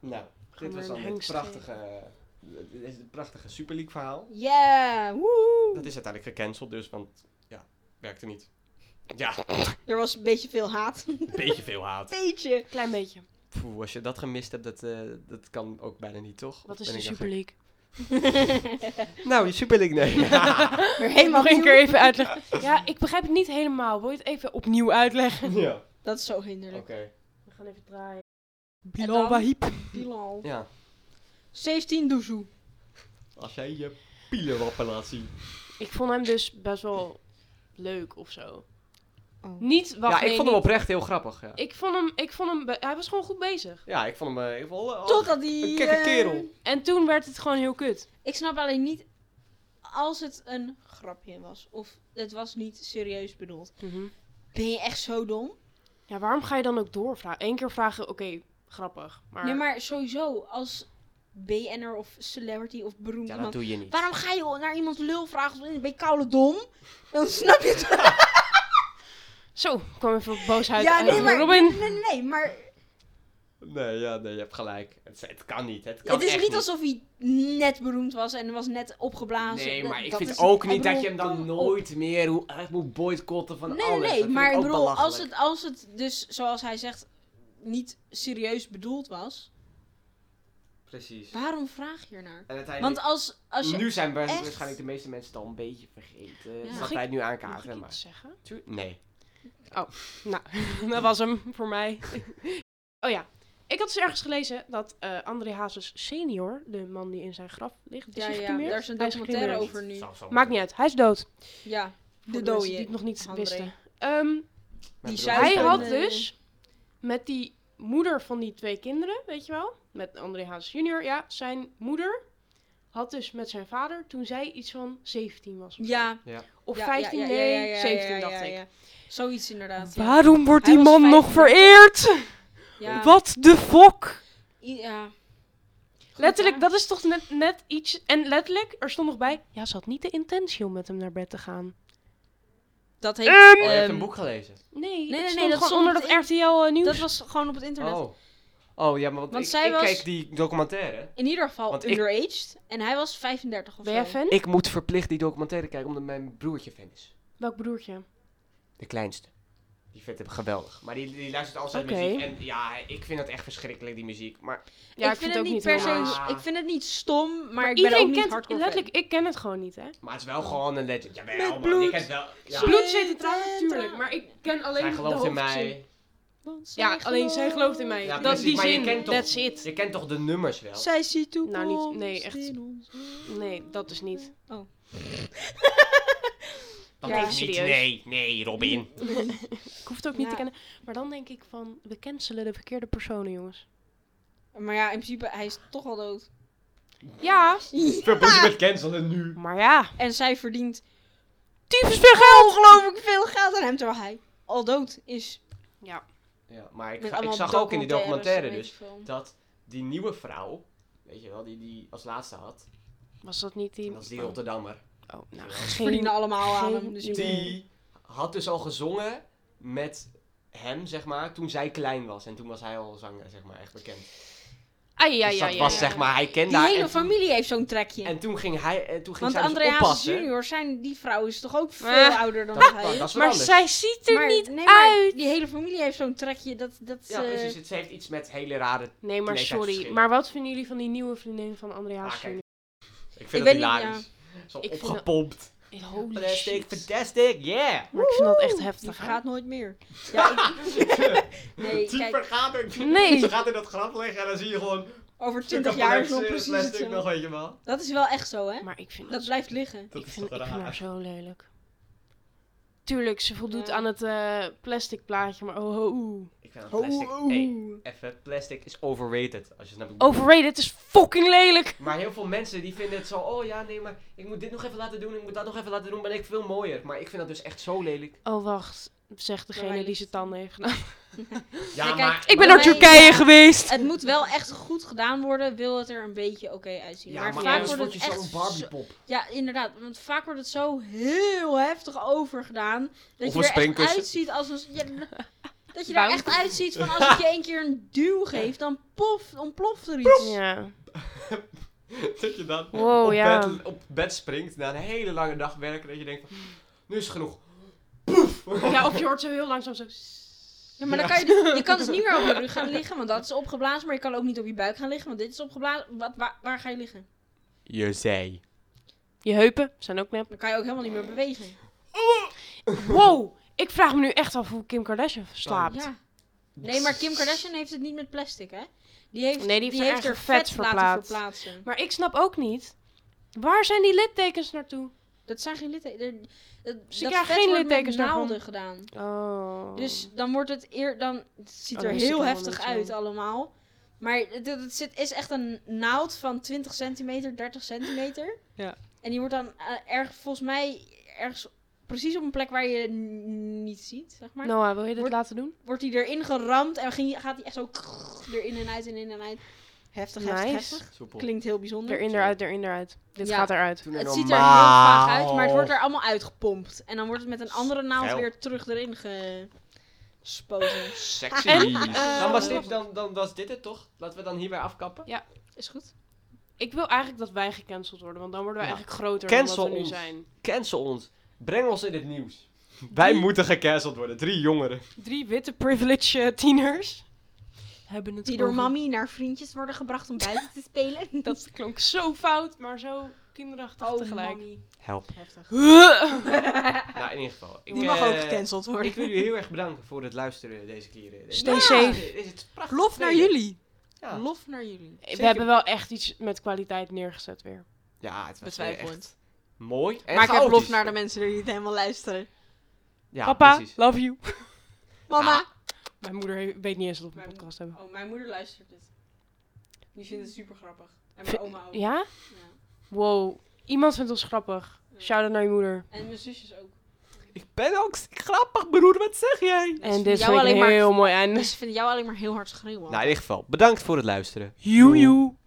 [SPEAKER 3] nou, dit
[SPEAKER 1] maar
[SPEAKER 3] was
[SPEAKER 1] een
[SPEAKER 3] dan het
[SPEAKER 1] hengst
[SPEAKER 3] prachtige, eh, dit is het prachtige Super League verhaal.
[SPEAKER 2] Yeah, woehoe.
[SPEAKER 3] Dat is uiteindelijk gecanceld dus, want ja, werkte niet. Ja,
[SPEAKER 2] Er was een beetje veel haat. Een
[SPEAKER 3] een beetje veel haat.
[SPEAKER 2] beetje.
[SPEAKER 1] Klein beetje.
[SPEAKER 3] Poeh, als je dat gemist hebt, dat, eh, dat kan ook bijna niet, toch?
[SPEAKER 1] Wat is
[SPEAKER 3] Ben
[SPEAKER 1] de
[SPEAKER 3] ik dan
[SPEAKER 1] Super League?
[SPEAKER 3] gek? Nou, de Super League, nee.
[SPEAKER 2] Weer helemaal
[SPEAKER 1] Nog een
[SPEAKER 2] nieuw.
[SPEAKER 1] keer even uitleggen. Ja, ik begrijp het niet helemaal. Wil je het even opnieuw uitleggen?
[SPEAKER 3] ja,
[SPEAKER 2] Dat is zo
[SPEAKER 3] oké.
[SPEAKER 2] hinderlijk.
[SPEAKER 1] We gaan even draaien.
[SPEAKER 2] En dan-
[SPEAKER 1] Bilal Wahib.
[SPEAKER 2] Bilal.
[SPEAKER 3] Ja,
[SPEAKER 2] 17 Doezoe.
[SPEAKER 3] als jij je pielenwappen laat zien.
[SPEAKER 1] Ik vond hem dus best wel leuk of zo.
[SPEAKER 2] Oh.
[SPEAKER 1] Niet, wacht,
[SPEAKER 3] ja, ik
[SPEAKER 1] nee,
[SPEAKER 3] vond hem
[SPEAKER 1] niet.
[SPEAKER 3] oprecht heel grappig, ja.
[SPEAKER 1] Ik vond hem, ik vond hem, be- hij was gewoon goed bezig.
[SPEAKER 3] Ja, ik vond hem... eh, ik vond, oh,
[SPEAKER 2] Totdat die...
[SPEAKER 3] Een kekke
[SPEAKER 2] eh,
[SPEAKER 3] kerel.
[SPEAKER 1] En toen werd het gewoon heel kut.
[SPEAKER 2] Ik snap alleen niet als het een grapje was. Of het was niet serieus bedoeld.
[SPEAKER 1] Mhm.
[SPEAKER 2] Ben je echt zo dom?
[SPEAKER 1] Ja, waarom ga je dan ook doorvragen? Eén keer vragen, oké, grappig. Maar,
[SPEAKER 2] Nee, maar sowieso als BN'er of celebrity of
[SPEAKER 3] Ja,
[SPEAKER 2] beroemd
[SPEAKER 3] dat
[SPEAKER 2] iemand.
[SPEAKER 3] doe je niet.
[SPEAKER 2] Waarom ga je naar iemand lul vragen? of Ben je koude dom? Dan snap je het.
[SPEAKER 1] Zo, kwam even op boosheid
[SPEAKER 2] ja,
[SPEAKER 1] uit.
[SPEAKER 2] nee, maar...
[SPEAKER 1] Robin.
[SPEAKER 2] Nee, nee, nee, maar
[SPEAKER 3] Nee, ja, nee, je hebt gelijk. Het, het kan niet, het kan
[SPEAKER 2] het is
[SPEAKER 3] echt
[SPEAKER 2] niet alsof hij net beroemd was en was net opgeblazen.
[SPEAKER 3] Nee,
[SPEAKER 2] Dat-
[SPEAKER 3] maar ik
[SPEAKER 2] dat
[SPEAKER 3] vind
[SPEAKER 2] is-
[SPEAKER 3] ook
[SPEAKER 2] ik
[SPEAKER 3] niet dat je
[SPEAKER 2] bedoel,
[SPEAKER 3] hem dan
[SPEAKER 2] kom op.
[SPEAKER 3] nooit meer hoe, echt moet boycotten van
[SPEAKER 2] Nee, nee,
[SPEAKER 3] alles. Dat
[SPEAKER 2] nee,
[SPEAKER 3] vind
[SPEAKER 2] maar ik
[SPEAKER 3] ook
[SPEAKER 2] bedoel, als
[SPEAKER 3] belachelijk.
[SPEAKER 2] het, als het dus, zoals hij zegt, niet serieus bedoeld was,
[SPEAKER 3] Precies.
[SPEAKER 2] waarom vraag je ernaar?
[SPEAKER 3] En
[SPEAKER 2] Want
[SPEAKER 3] uiteindelijk...
[SPEAKER 2] als, als je...
[SPEAKER 3] nu zijn wa-
[SPEAKER 2] echt-
[SPEAKER 3] waarschijnlijk de meeste mensen het al een beetje vergeten.
[SPEAKER 2] Ja.
[SPEAKER 3] Dat
[SPEAKER 1] Mag
[SPEAKER 3] wij het nu
[SPEAKER 1] Mag ik
[SPEAKER 3] aankaarten, maar...
[SPEAKER 1] iets zeggen?
[SPEAKER 3] Nee.
[SPEAKER 1] Nou, dat was hem voor mij. oh ja, ik had dus ergens gelezen dat eh, André Hazes senior, de man die in zijn graf ligt, is
[SPEAKER 2] Ja,
[SPEAKER 1] hij
[SPEAKER 2] ja,
[SPEAKER 1] gecremeerd?
[SPEAKER 2] daar is een
[SPEAKER 1] Hij
[SPEAKER 2] documentaire
[SPEAKER 1] gecremeerd.
[SPEAKER 2] over nu.
[SPEAKER 3] Zou- zou
[SPEAKER 1] Maakt niet
[SPEAKER 3] moeten.
[SPEAKER 1] uit, hij is dood.
[SPEAKER 2] Ja, de
[SPEAKER 1] Voor mensen Die het
[SPEAKER 2] dode.
[SPEAKER 1] nog niet
[SPEAKER 2] André.
[SPEAKER 1] wisten. Ehm,
[SPEAKER 3] Maar
[SPEAKER 2] Die
[SPEAKER 3] ik
[SPEAKER 2] zei-
[SPEAKER 3] bedoel,
[SPEAKER 1] hij
[SPEAKER 2] is
[SPEAKER 1] had
[SPEAKER 2] een, eh,
[SPEAKER 1] dus met die moeder van die twee kinderen, weet je wel? Met André Hazes junior, ja. Zijn moeder had dus met zijn vader toen zij iets van 17 was. of zo.
[SPEAKER 2] Ja.
[SPEAKER 1] Of
[SPEAKER 2] ja,
[SPEAKER 1] 15,
[SPEAKER 2] ja, ja,
[SPEAKER 1] nee,
[SPEAKER 2] ja, ja, ja,
[SPEAKER 1] 17
[SPEAKER 2] ja,
[SPEAKER 1] dacht
[SPEAKER 2] ja,
[SPEAKER 1] ik.
[SPEAKER 2] ja. Zoiets inderdaad. ja.
[SPEAKER 1] Waarom wordt
[SPEAKER 2] Hij
[SPEAKER 1] die
[SPEAKER 2] was
[SPEAKER 1] man nog
[SPEAKER 2] 15.
[SPEAKER 1] vereerd?
[SPEAKER 2] Ja.
[SPEAKER 1] Wat de fok?
[SPEAKER 2] I- ja.
[SPEAKER 1] Letterlijk,
[SPEAKER 2] Goed,
[SPEAKER 1] dat is toch net, net iets. En letterlijk, er stond nog bij. Ja, ze had niet de intentie om met hem naar bed te gaan.
[SPEAKER 2] Dat heet...
[SPEAKER 1] Eh,
[SPEAKER 3] Oh, je hebt
[SPEAKER 2] ehm,
[SPEAKER 3] een boek gelezen.
[SPEAKER 1] Nee,
[SPEAKER 2] nee,
[SPEAKER 1] het
[SPEAKER 2] nee,
[SPEAKER 1] stond
[SPEAKER 2] dat
[SPEAKER 1] gewoon
[SPEAKER 2] stond
[SPEAKER 1] onder dat
[SPEAKER 2] in-
[SPEAKER 1] RTL eh, nieuws.
[SPEAKER 2] Dat was gewoon op het internet.
[SPEAKER 3] Oh. Oh, ja, maar want,
[SPEAKER 2] Want
[SPEAKER 3] ik,
[SPEAKER 2] zij
[SPEAKER 3] ik
[SPEAKER 2] was-
[SPEAKER 3] kijk die documentaire.
[SPEAKER 2] In ieder geval
[SPEAKER 3] Want ik-
[SPEAKER 2] underaged. En hij was 35 of
[SPEAKER 1] ben
[SPEAKER 2] zo.
[SPEAKER 1] jij fan?
[SPEAKER 3] Ik moet verplicht die documentaire kijken, omdat mijn broertje fan is.
[SPEAKER 1] Welk broertje?
[SPEAKER 3] De kleinste. Die vindt hem geweldig. Maar die, die luistert altijd
[SPEAKER 1] Oké.
[SPEAKER 3] naar muziek. En ja, ik vind dat echt verschrikkelijk, die muziek. Maar
[SPEAKER 1] Ja,
[SPEAKER 2] ik, vind het niet per se...
[SPEAKER 1] helemaal.
[SPEAKER 3] helemaal.
[SPEAKER 2] Ik vind het niet stom, maar, ik ben
[SPEAKER 1] Iedereen
[SPEAKER 2] ook niet
[SPEAKER 1] kent
[SPEAKER 2] hardcore fan.
[SPEAKER 1] Letterlijk, ik ken het gewoon niet, hè?
[SPEAKER 3] Maar het is wel gewoon een legend.
[SPEAKER 2] Met
[SPEAKER 3] Jawel, man.
[SPEAKER 2] bloed.
[SPEAKER 3] Ik heb wel... Ja.
[SPEAKER 2] Bloed.
[SPEAKER 1] Bloed zit er trouwens natuurlijk, maar ik ken alleen
[SPEAKER 3] Zij
[SPEAKER 1] de
[SPEAKER 3] gelooft in
[SPEAKER 1] hoofdzin.
[SPEAKER 3] mij.
[SPEAKER 2] Want
[SPEAKER 1] Ja, alleen zij gelooft in mij.
[SPEAKER 3] Ja,
[SPEAKER 1] dat
[SPEAKER 3] precies,
[SPEAKER 1] die
[SPEAKER 3] maar je
[SPEAKER 1] zin,
[SPEAKER 3] kent toch-
[SPEAKER 1] that's it.
[SPEAKER 3] Je kent toch de nummers wel?
[SPEAKER 2] Zij ziet toe.
[SPEAKER 1] Nou, niet- nee, echt. Nee, dat is niet.
[SPEAKER 3] Dat
[SPEAKER 2] Ja,
[SPEAKER 3] is niet.
[SPEAKER 1] serieus.
[SPEAKER 3] Nee, nee, Robin.
[SPEAKER 1] Ik hoef het ook niet te
[SPEAKER 2] Ja.
[SPEAKER 1] kennen. Maar dan denk ik van, we cancelen de verkeerde personen, jongens.
[SPEAKER 2] Maar ja, in principe, hij is toch al dood.
[SPEAKER 1] Ja,
[SPEAKER 3] Veel plezier met cancelen nu.
[SPEAKER 1] maar ja.
[SPEAKER 2] En zij verdient
[SPEAKER 1] Tyfus veel
[SPEAKER 2] ongelooflijk veel geld aan hem, terwijl hij al dood is.
[SPEAKER 1] Ja.
[SPEAKER 3] Ja, maar ik,
[SPEAKER 2] Met
[SPEAKER 3] ga- ik
[SPEAKER 2] allemaal
[SPEAKER 3] zag ook in die documentaire
[SPEAKER 2] weet
[SPEAKER 3] dus
[SPEAKER 2] ik veel.
[SPEAKER 3] dat die nieuwe vrouw, weet je wel, die die als laatste had,
[SPEAKER 1] Was dat niet die...
[SPEAKER 3] dat is die Rotterdammer,
[SPEAKER 1] Oh, nou,
[SPEAKER 3] Ze
[SPEAKER 2] Verdienen
[SPEAKER 1] geen...
[SPEAKER 2] allemaal aan
[SPEAKER 1] geen
[SPEAKER 2] hem. Dus
[SPEAKER 1] idee.
[SPEAKER 3] die had dus al gezongen met hem, zeg maar, toen zij klein was. En toen was hij al zanger, zeg maar, echt bekend.
[SPEAKER 1] Ai, ai,
[SPEAKER 3] Dus
[SPEAKER 1] ai,
[SPEAKER 3] dat
[SPEAKER 1] ai,
[SPEAKER 3] was
[SPEAKER 1] ai,
[SPEAKER 3] zeg
[SPEAKER 1] ai.
[SPEAKER 3] maar, hij kende
[SPEAKER 2] Die
[SPEAKER 3] haar.
[SPEAKER 2] hele
[SPEAKER 3] en toen-
[SPEAKER 2] familie heeft zo'n trekje.
[SPEAKER 3] En toen ging hij, en toen ging
[SPEAKER 2] Want
[SPEAKER 3] zij dus
[SPEAKER 2] André Hazes
[SPEAKER 3] oppassen.
[SPEAKER 2] junior, zijn, die vrouw is toch ook veel
[SPEAKER 1] Ah.
[SPEAKER 2] ouder dan
[SPEAKER 3] Dat, dat,
[SPEAKER 2] hij?
[SPEAKER 3] dat is wat
[SPEAKER 1] Maar
[SPEAKER 3] anders.
[SPEAKER 1] zij ziet er
[SPEAKER 2] Maar-
[SPEAKER 1] niet
[SPEAKER 2] nee, maar
[SPEAKER 1] uit.
[SPEAKER 2] Die hele familie heeft zo'n trekje. Dat, dat,
[SPEAKER 3] Ja,
[SPEAKER 2] eh,
[SPEAKER 3] precies. Het heeft iets met hele rare...
[SPEAKER 1] Nee, maar sorry.
[SPEAKER 3] leeftijdsverschillen.
[SPEAKER 1] Maar wat vinden jullie van die nieuwe vriendin van André
[SPEAKER 3] Ah,
[SPEAKER 1] Hazes
[SPEAKER 3] kijk.
[SPEAKER 1] Jr.?
[SPEAKER 3] Ik
[SPEAKER 2] Ik
[SPEAKER 3] vind
[SPEAKER 2] weet
[SPEAKER 3] het
[SPEAKER 2] niet,
[SPEAKER 3] hilarisch. Zo
[SPEAKER 1] Ik vind het-
[SPEAKER 3] opgepompt.
[SPEAKER 2] Oh,
[SPEAKER 1] Holy
[SPEAKER 3] Fantastic,
[SPEAKER 1] shit.
[SPEAKER 3] fantastic, yeah!
[SPEAKER 1] Maar ik vind dat echt
[SPEAKER 2] die
[SPEAKER 1] heftig. hè.
[SPEAKER 2] vergaat nooit meer. Ja, ik, nee,
[SPEAKER 3] Die
[SPEAKER 2] kijk,
[SPEAKER 3] vergaat er.
[SPEAKER 1] Nee.
[SPEAKER 3] Ze gaat in dat graf liggen en dan zie je gewoon...
[SPEAKER 2] over
[SPEAKER 3] stukken
[SPEAKER 2] 20
[SPEAKER 3] van
[SPEAKER 2] jaar
[SPEAKER 3] het,
[SPEAKER 2] is nog
[SPEAKER 3] eh,
[SPEAKER 2] precies
[SPEAKER 3] plastic nog,
[SPEAKER 2] hetzelfde.
[SPEAKER 3] weet je wel.
[SPEAKER 2] Dat is wel echt zo, hè?
[SPEAKER 1] Maar ik vind
[SPEAKER 2] Dat
[SPEAKER 1] dat,
[SPEAKER 2] blijft liggen.
[SPEAKER 3] Dat
[SPEAKER 1] ik
[SPEAKER 3] is
[SPEAKER 1] vind,
[SPEAKER 3] toch
[SPEAKER 1] ik vind haar
[SPEAKER 3] raar.
[SPEAKER 1] zo lelijk. Tuurlijk, ze voldoet
[SPEAKER 2] Ja.
[SPEAKER 1] aan het eh, plastic plaatje, maar oh, oh, oh.
[SPEAKER 3] Ik vind dat plastic... Hey, even, plastic is overrated. Als je het naar
[SPEAKER 1] Overrated is fucking lelijk.
[SPEAKER 3] Maar heel veel mensen die vinden het zo, oh ja, nee, maar ik moet dit nog even laten doen, ik moet dat nog even laten doen, ben ik veel mooier. Maar ik vind dat dus echt zo lelijk.
[SPEAKER 1] Oh, wacht. Zegt
[SPEAKER 2] Maar
[SPEAKER 1] degene
[SPEAKER 2] hij
[SPEAKER 1] die
[SPEAKER 2] ligt-
[SPEAKER 1] zijn tanden heeft gedaan.
[SPEAKER 3] Ja,
[SPEAKER 2] kijk,
[SPEAKER 3] maar...
[SPEAKER 1] Ik
[SPEAKER 2] ben
[SPEAKER 1] ben
[SPEAKER 2] naar
[SPEAKER 1] naar
[SPEAKER 2] Nee, Turkije
[SPEAKER 1] Turkije
[SPEAKER 2] ja.
[SPEAKER 1] geweest.
[SPEAKER 2] Het moet wel echt goed gedaan worden, wil het er een beetje oké uitzien.
[SPEAKER 3] Ja,
[SPEAKER 2] maar,
[SPEAKER 3] maar
[SPEAKER 2] vaak
[SPEAKER 3] anders word
[SPEAKER 2] wordt het
[SPEAKER 3] je
[SPEAKER 2] echt
[SPEAKER 3] zo'n
[SPEAKER 2] zo-
[SPEAKER 3] Barbiepop.
[SPEAKER 2] Ja, inderdaad. Want vaak wordt het zo heel heftig overgedaan. Dat
[SPEAKER 3] Of
[SPEAKER 2] je
[SPEAKER 3] een
[SPEAKER 2] er echt
[SPEAKER 3] springkussen.
[SPEAKER 2] uitziet als een... ja, dat je er
[SPEAKER 1] Wauw.
[SPEAKER 2] echt uitziet van als ik je één keer een duw geef, dan pof, ontploft er iets.
[SPEAKER 1] Ja.
[SPEAKER 3] dat je dan
[SPEAKER 1] Wow,
[SPEAKER 2] Oh,
[SPEAKER 3] op,
[SPEAKER 1] ja.
[SPEAKER 3] bed, op bed springt na een hele lange dag werken, dat je denkt van, "Hmm, nu is het genoeg.
[SPEAKER 1] ja, of je hoort zo heel langzaam zo...
[SPEAKER 2] Ja, maar dan kan je, je kan dus niet meer op je rug gaan liggen, want dat is opgeblazen. Maar je kan ook niet op je buik gaan liggen, want dit is opgeblazen. Wat, waar, waar ga je liggen?
[SPEAKER 3] Je zei.
[SPEAKER 1] Je heupen zijn ook nep.
[SPEAKER 2] Dan kan je ook helemaal niet meer bewegen.
[SPEAKER 1] Wow, ik vraag me nu echt af hoe Kim Kardashian slaapt.
[SPEAKER 2] Ja. Nee, maar Kim Kardashian heeft het niet met plastic, hè? Die heeft,
[SPEAKER 1] Nee, die
[SPEAKER 2] die
[SPEAKER 1] heeft
[SPEAKER 2] heeft,
[SPEAKER 1] haar
[SPEAKER 2] er
[SPEAKER 1] eigen vet
[SPEAKER 2] vet laten
[SPEAKER 1] verplaatst.
[SPEAKER 2] verplaatsen.
[SPEAKER 1] Maar ik snap ook niet, waar zijn die littekens naartoe?
[SPEAKER 2] Dat zijn geen littekens. Dat,
[SPEAKER 1] Ze
[SPEAKER 2] dat
[SPEAKER 1] krijgen
[SPEAKER 2] vet
[SPEAKER 1] geen
[SPEAKER 2] wordt met
[SPEAKER 1] littekens daarvan.
[SPEAKER 2] naalden gedaan.
[SPEAKER 1] Oh.
[SPEAKER 2] Dus dan wordt het eer... Dan, het ziet
[SPEAKER 1] Oh,
[SPEAKER 2] er
[SPEAKER 1] dat wist ik
[SPEAKER 2] heel
[SPEAKER 1] allemaal
[SPEAKER 2] heftig
[SPEAKER 1] niet,
[SPEAKER 2] uit
[SPEAKER 1] joh.
[SPEAKER 2] allemaal. Maar het, het zit, is echt een naald van 20 centimeter, 30 centimeter.
[SPEAKER 1] Ja.
[SPEAKER 2] En die wordt dan eh, erg, volgens mij ergens precies op een plek waar je het n- niet ziet, zeg maar.
[SPEAKER 1] Noah, wil je dit
[SPEAKER 2] Wordt-
[SPEAKER 1] laten doen?
[SPEAKER 2] Wordt die erin geramd en ging, gaat die echt zo erin en uit en in en uit. Heftig, heftig,
[SPEAKER 1] Nice.
[SPEAKER 2] heftig. Klinkt heel bijzonder.
[SPEAKER 1] Erin, eruit, erin, eruit. Dit
[SPEAKER 2] Ja.
[SPEAKER 1] gaat eruit.
[SPEAKER 2] Het ziet er heel vaag uit, maar het wordt er allemaal uitgepompt. En dan wordt het met een andere naald
[SPEAKER 3] Geil.
[SPEAKER 2] weer terug erin gespoten.
[SPEAKER 3] Oh, Sexy.
[SPEAKER 1] En, eh,
[SPEAKER 3] dan, was dit, dan, dan was dit het toch? Laten we dan hierbij afkappen.
[SPEAKER 2] Is goed.
[SPEAKER 1] Ik wil eigenlijk dat wij gecanceld worden, want dan worden we
[SPEAKER 3] Ja.
[SPEAKER 1] eigenlijk groter
[SPEAKER 3] Cancel
[SPEAKER 1] dan wat we nu
[SPEAKER 3] ons.
[SPEAKER 1] zijn.
[SPEAKER 3] Cancel ons. Breng ons in het nieuws. Wij moeten gecanceld worden. Drie jongeren.
[SPEAKER 1] Drie witte privilege eh, tieners hebben het
[SPEAKER 2] Die door
[SPEAKER 1] over-
[SPEAKER 2] mami naar vriendjes worden gebracht om buiten te spelen.
[SPEAKER 1] Dat klonk zo fout, maar zo kinderachtig tegelijk.
[SPEAKER 2] mami.
[SPEAKER 3] Help.
[SPEAKER 2] Heftig.
[SPEAKER 3] Nou, in ieder geval. Ik,
[SPEAKER 2] Die mag ook
[SPEAKER 3] eh,
[SPEAKER 2] gecanceld worden.
[SPEAKER 3] Ik wil jullie heel erg bedanken voor het luisteren deze keer. Eh,
[SPEAKER 1] Stay
[SPEAKER 3] Ja,
[SPEAKER 1] safe.
[SPEAKER 3] dit Is het prachtig
[SPEAKER 2] Lof naar
[SPEAKER 3] tweede.
[SPEAKER 2] jullie.
[SPEAKER 3] Ja.
[SPEAKER 2] Lof naar jullie.
[SPEAKER 1] We
[SPEAKER 3] Zeker.
[SPEAKER 1] hebben wel echt iets met kwaliteit neergezet weer.
[SPEAKER 3] Ja, het was eh,
[SPEAKER 2] Betwijfelend.
[SPEAKER 3] echt mooi. En
[SPEAKER 2] maar ik heb lof
[SPEAKER 3] chaotisch.
[SPEAKER 2] naar de mensen die niet helemaal luisteren.
[SPEAKER 3] Ja,
[SPEAKER 1] Papa,
[SPEAKER 3] precies.
[SPEAKER 1] love you.
[SPEAKER 2] Mama.
[SPEAKER 1] Mijn moeder he- weet niet eens dat we een
[SPEAKER 2] Mijn-
[SPEAKER 1] podcast hebben.
[SPEAKER 2] Oh, mijn moeder luistert dit. Die vindt het super grappig. En
[SPEAKER 1] mijn
[SPEAKER 2] oma ook.
[SPEAKER 1] Oh. Ja? Wow. Iemand vindt ons grappig. Shout-out naar je moeder.
[SPEAKER 2] En mijn zusjes ook.
[SPEAKER 3] Ik ben ook grappig, broer. Wat zeg jij?
[SPEAKER 1] En dit is een heel mooi einde.
[SPEAKER 2] Ze vinden jou alleen maar heel hard schreeuwen.
[SPEAKER 3] Nou, in ieder geval, bedankt voor het luisteren.
[SPEAKER 1] Joe, joe.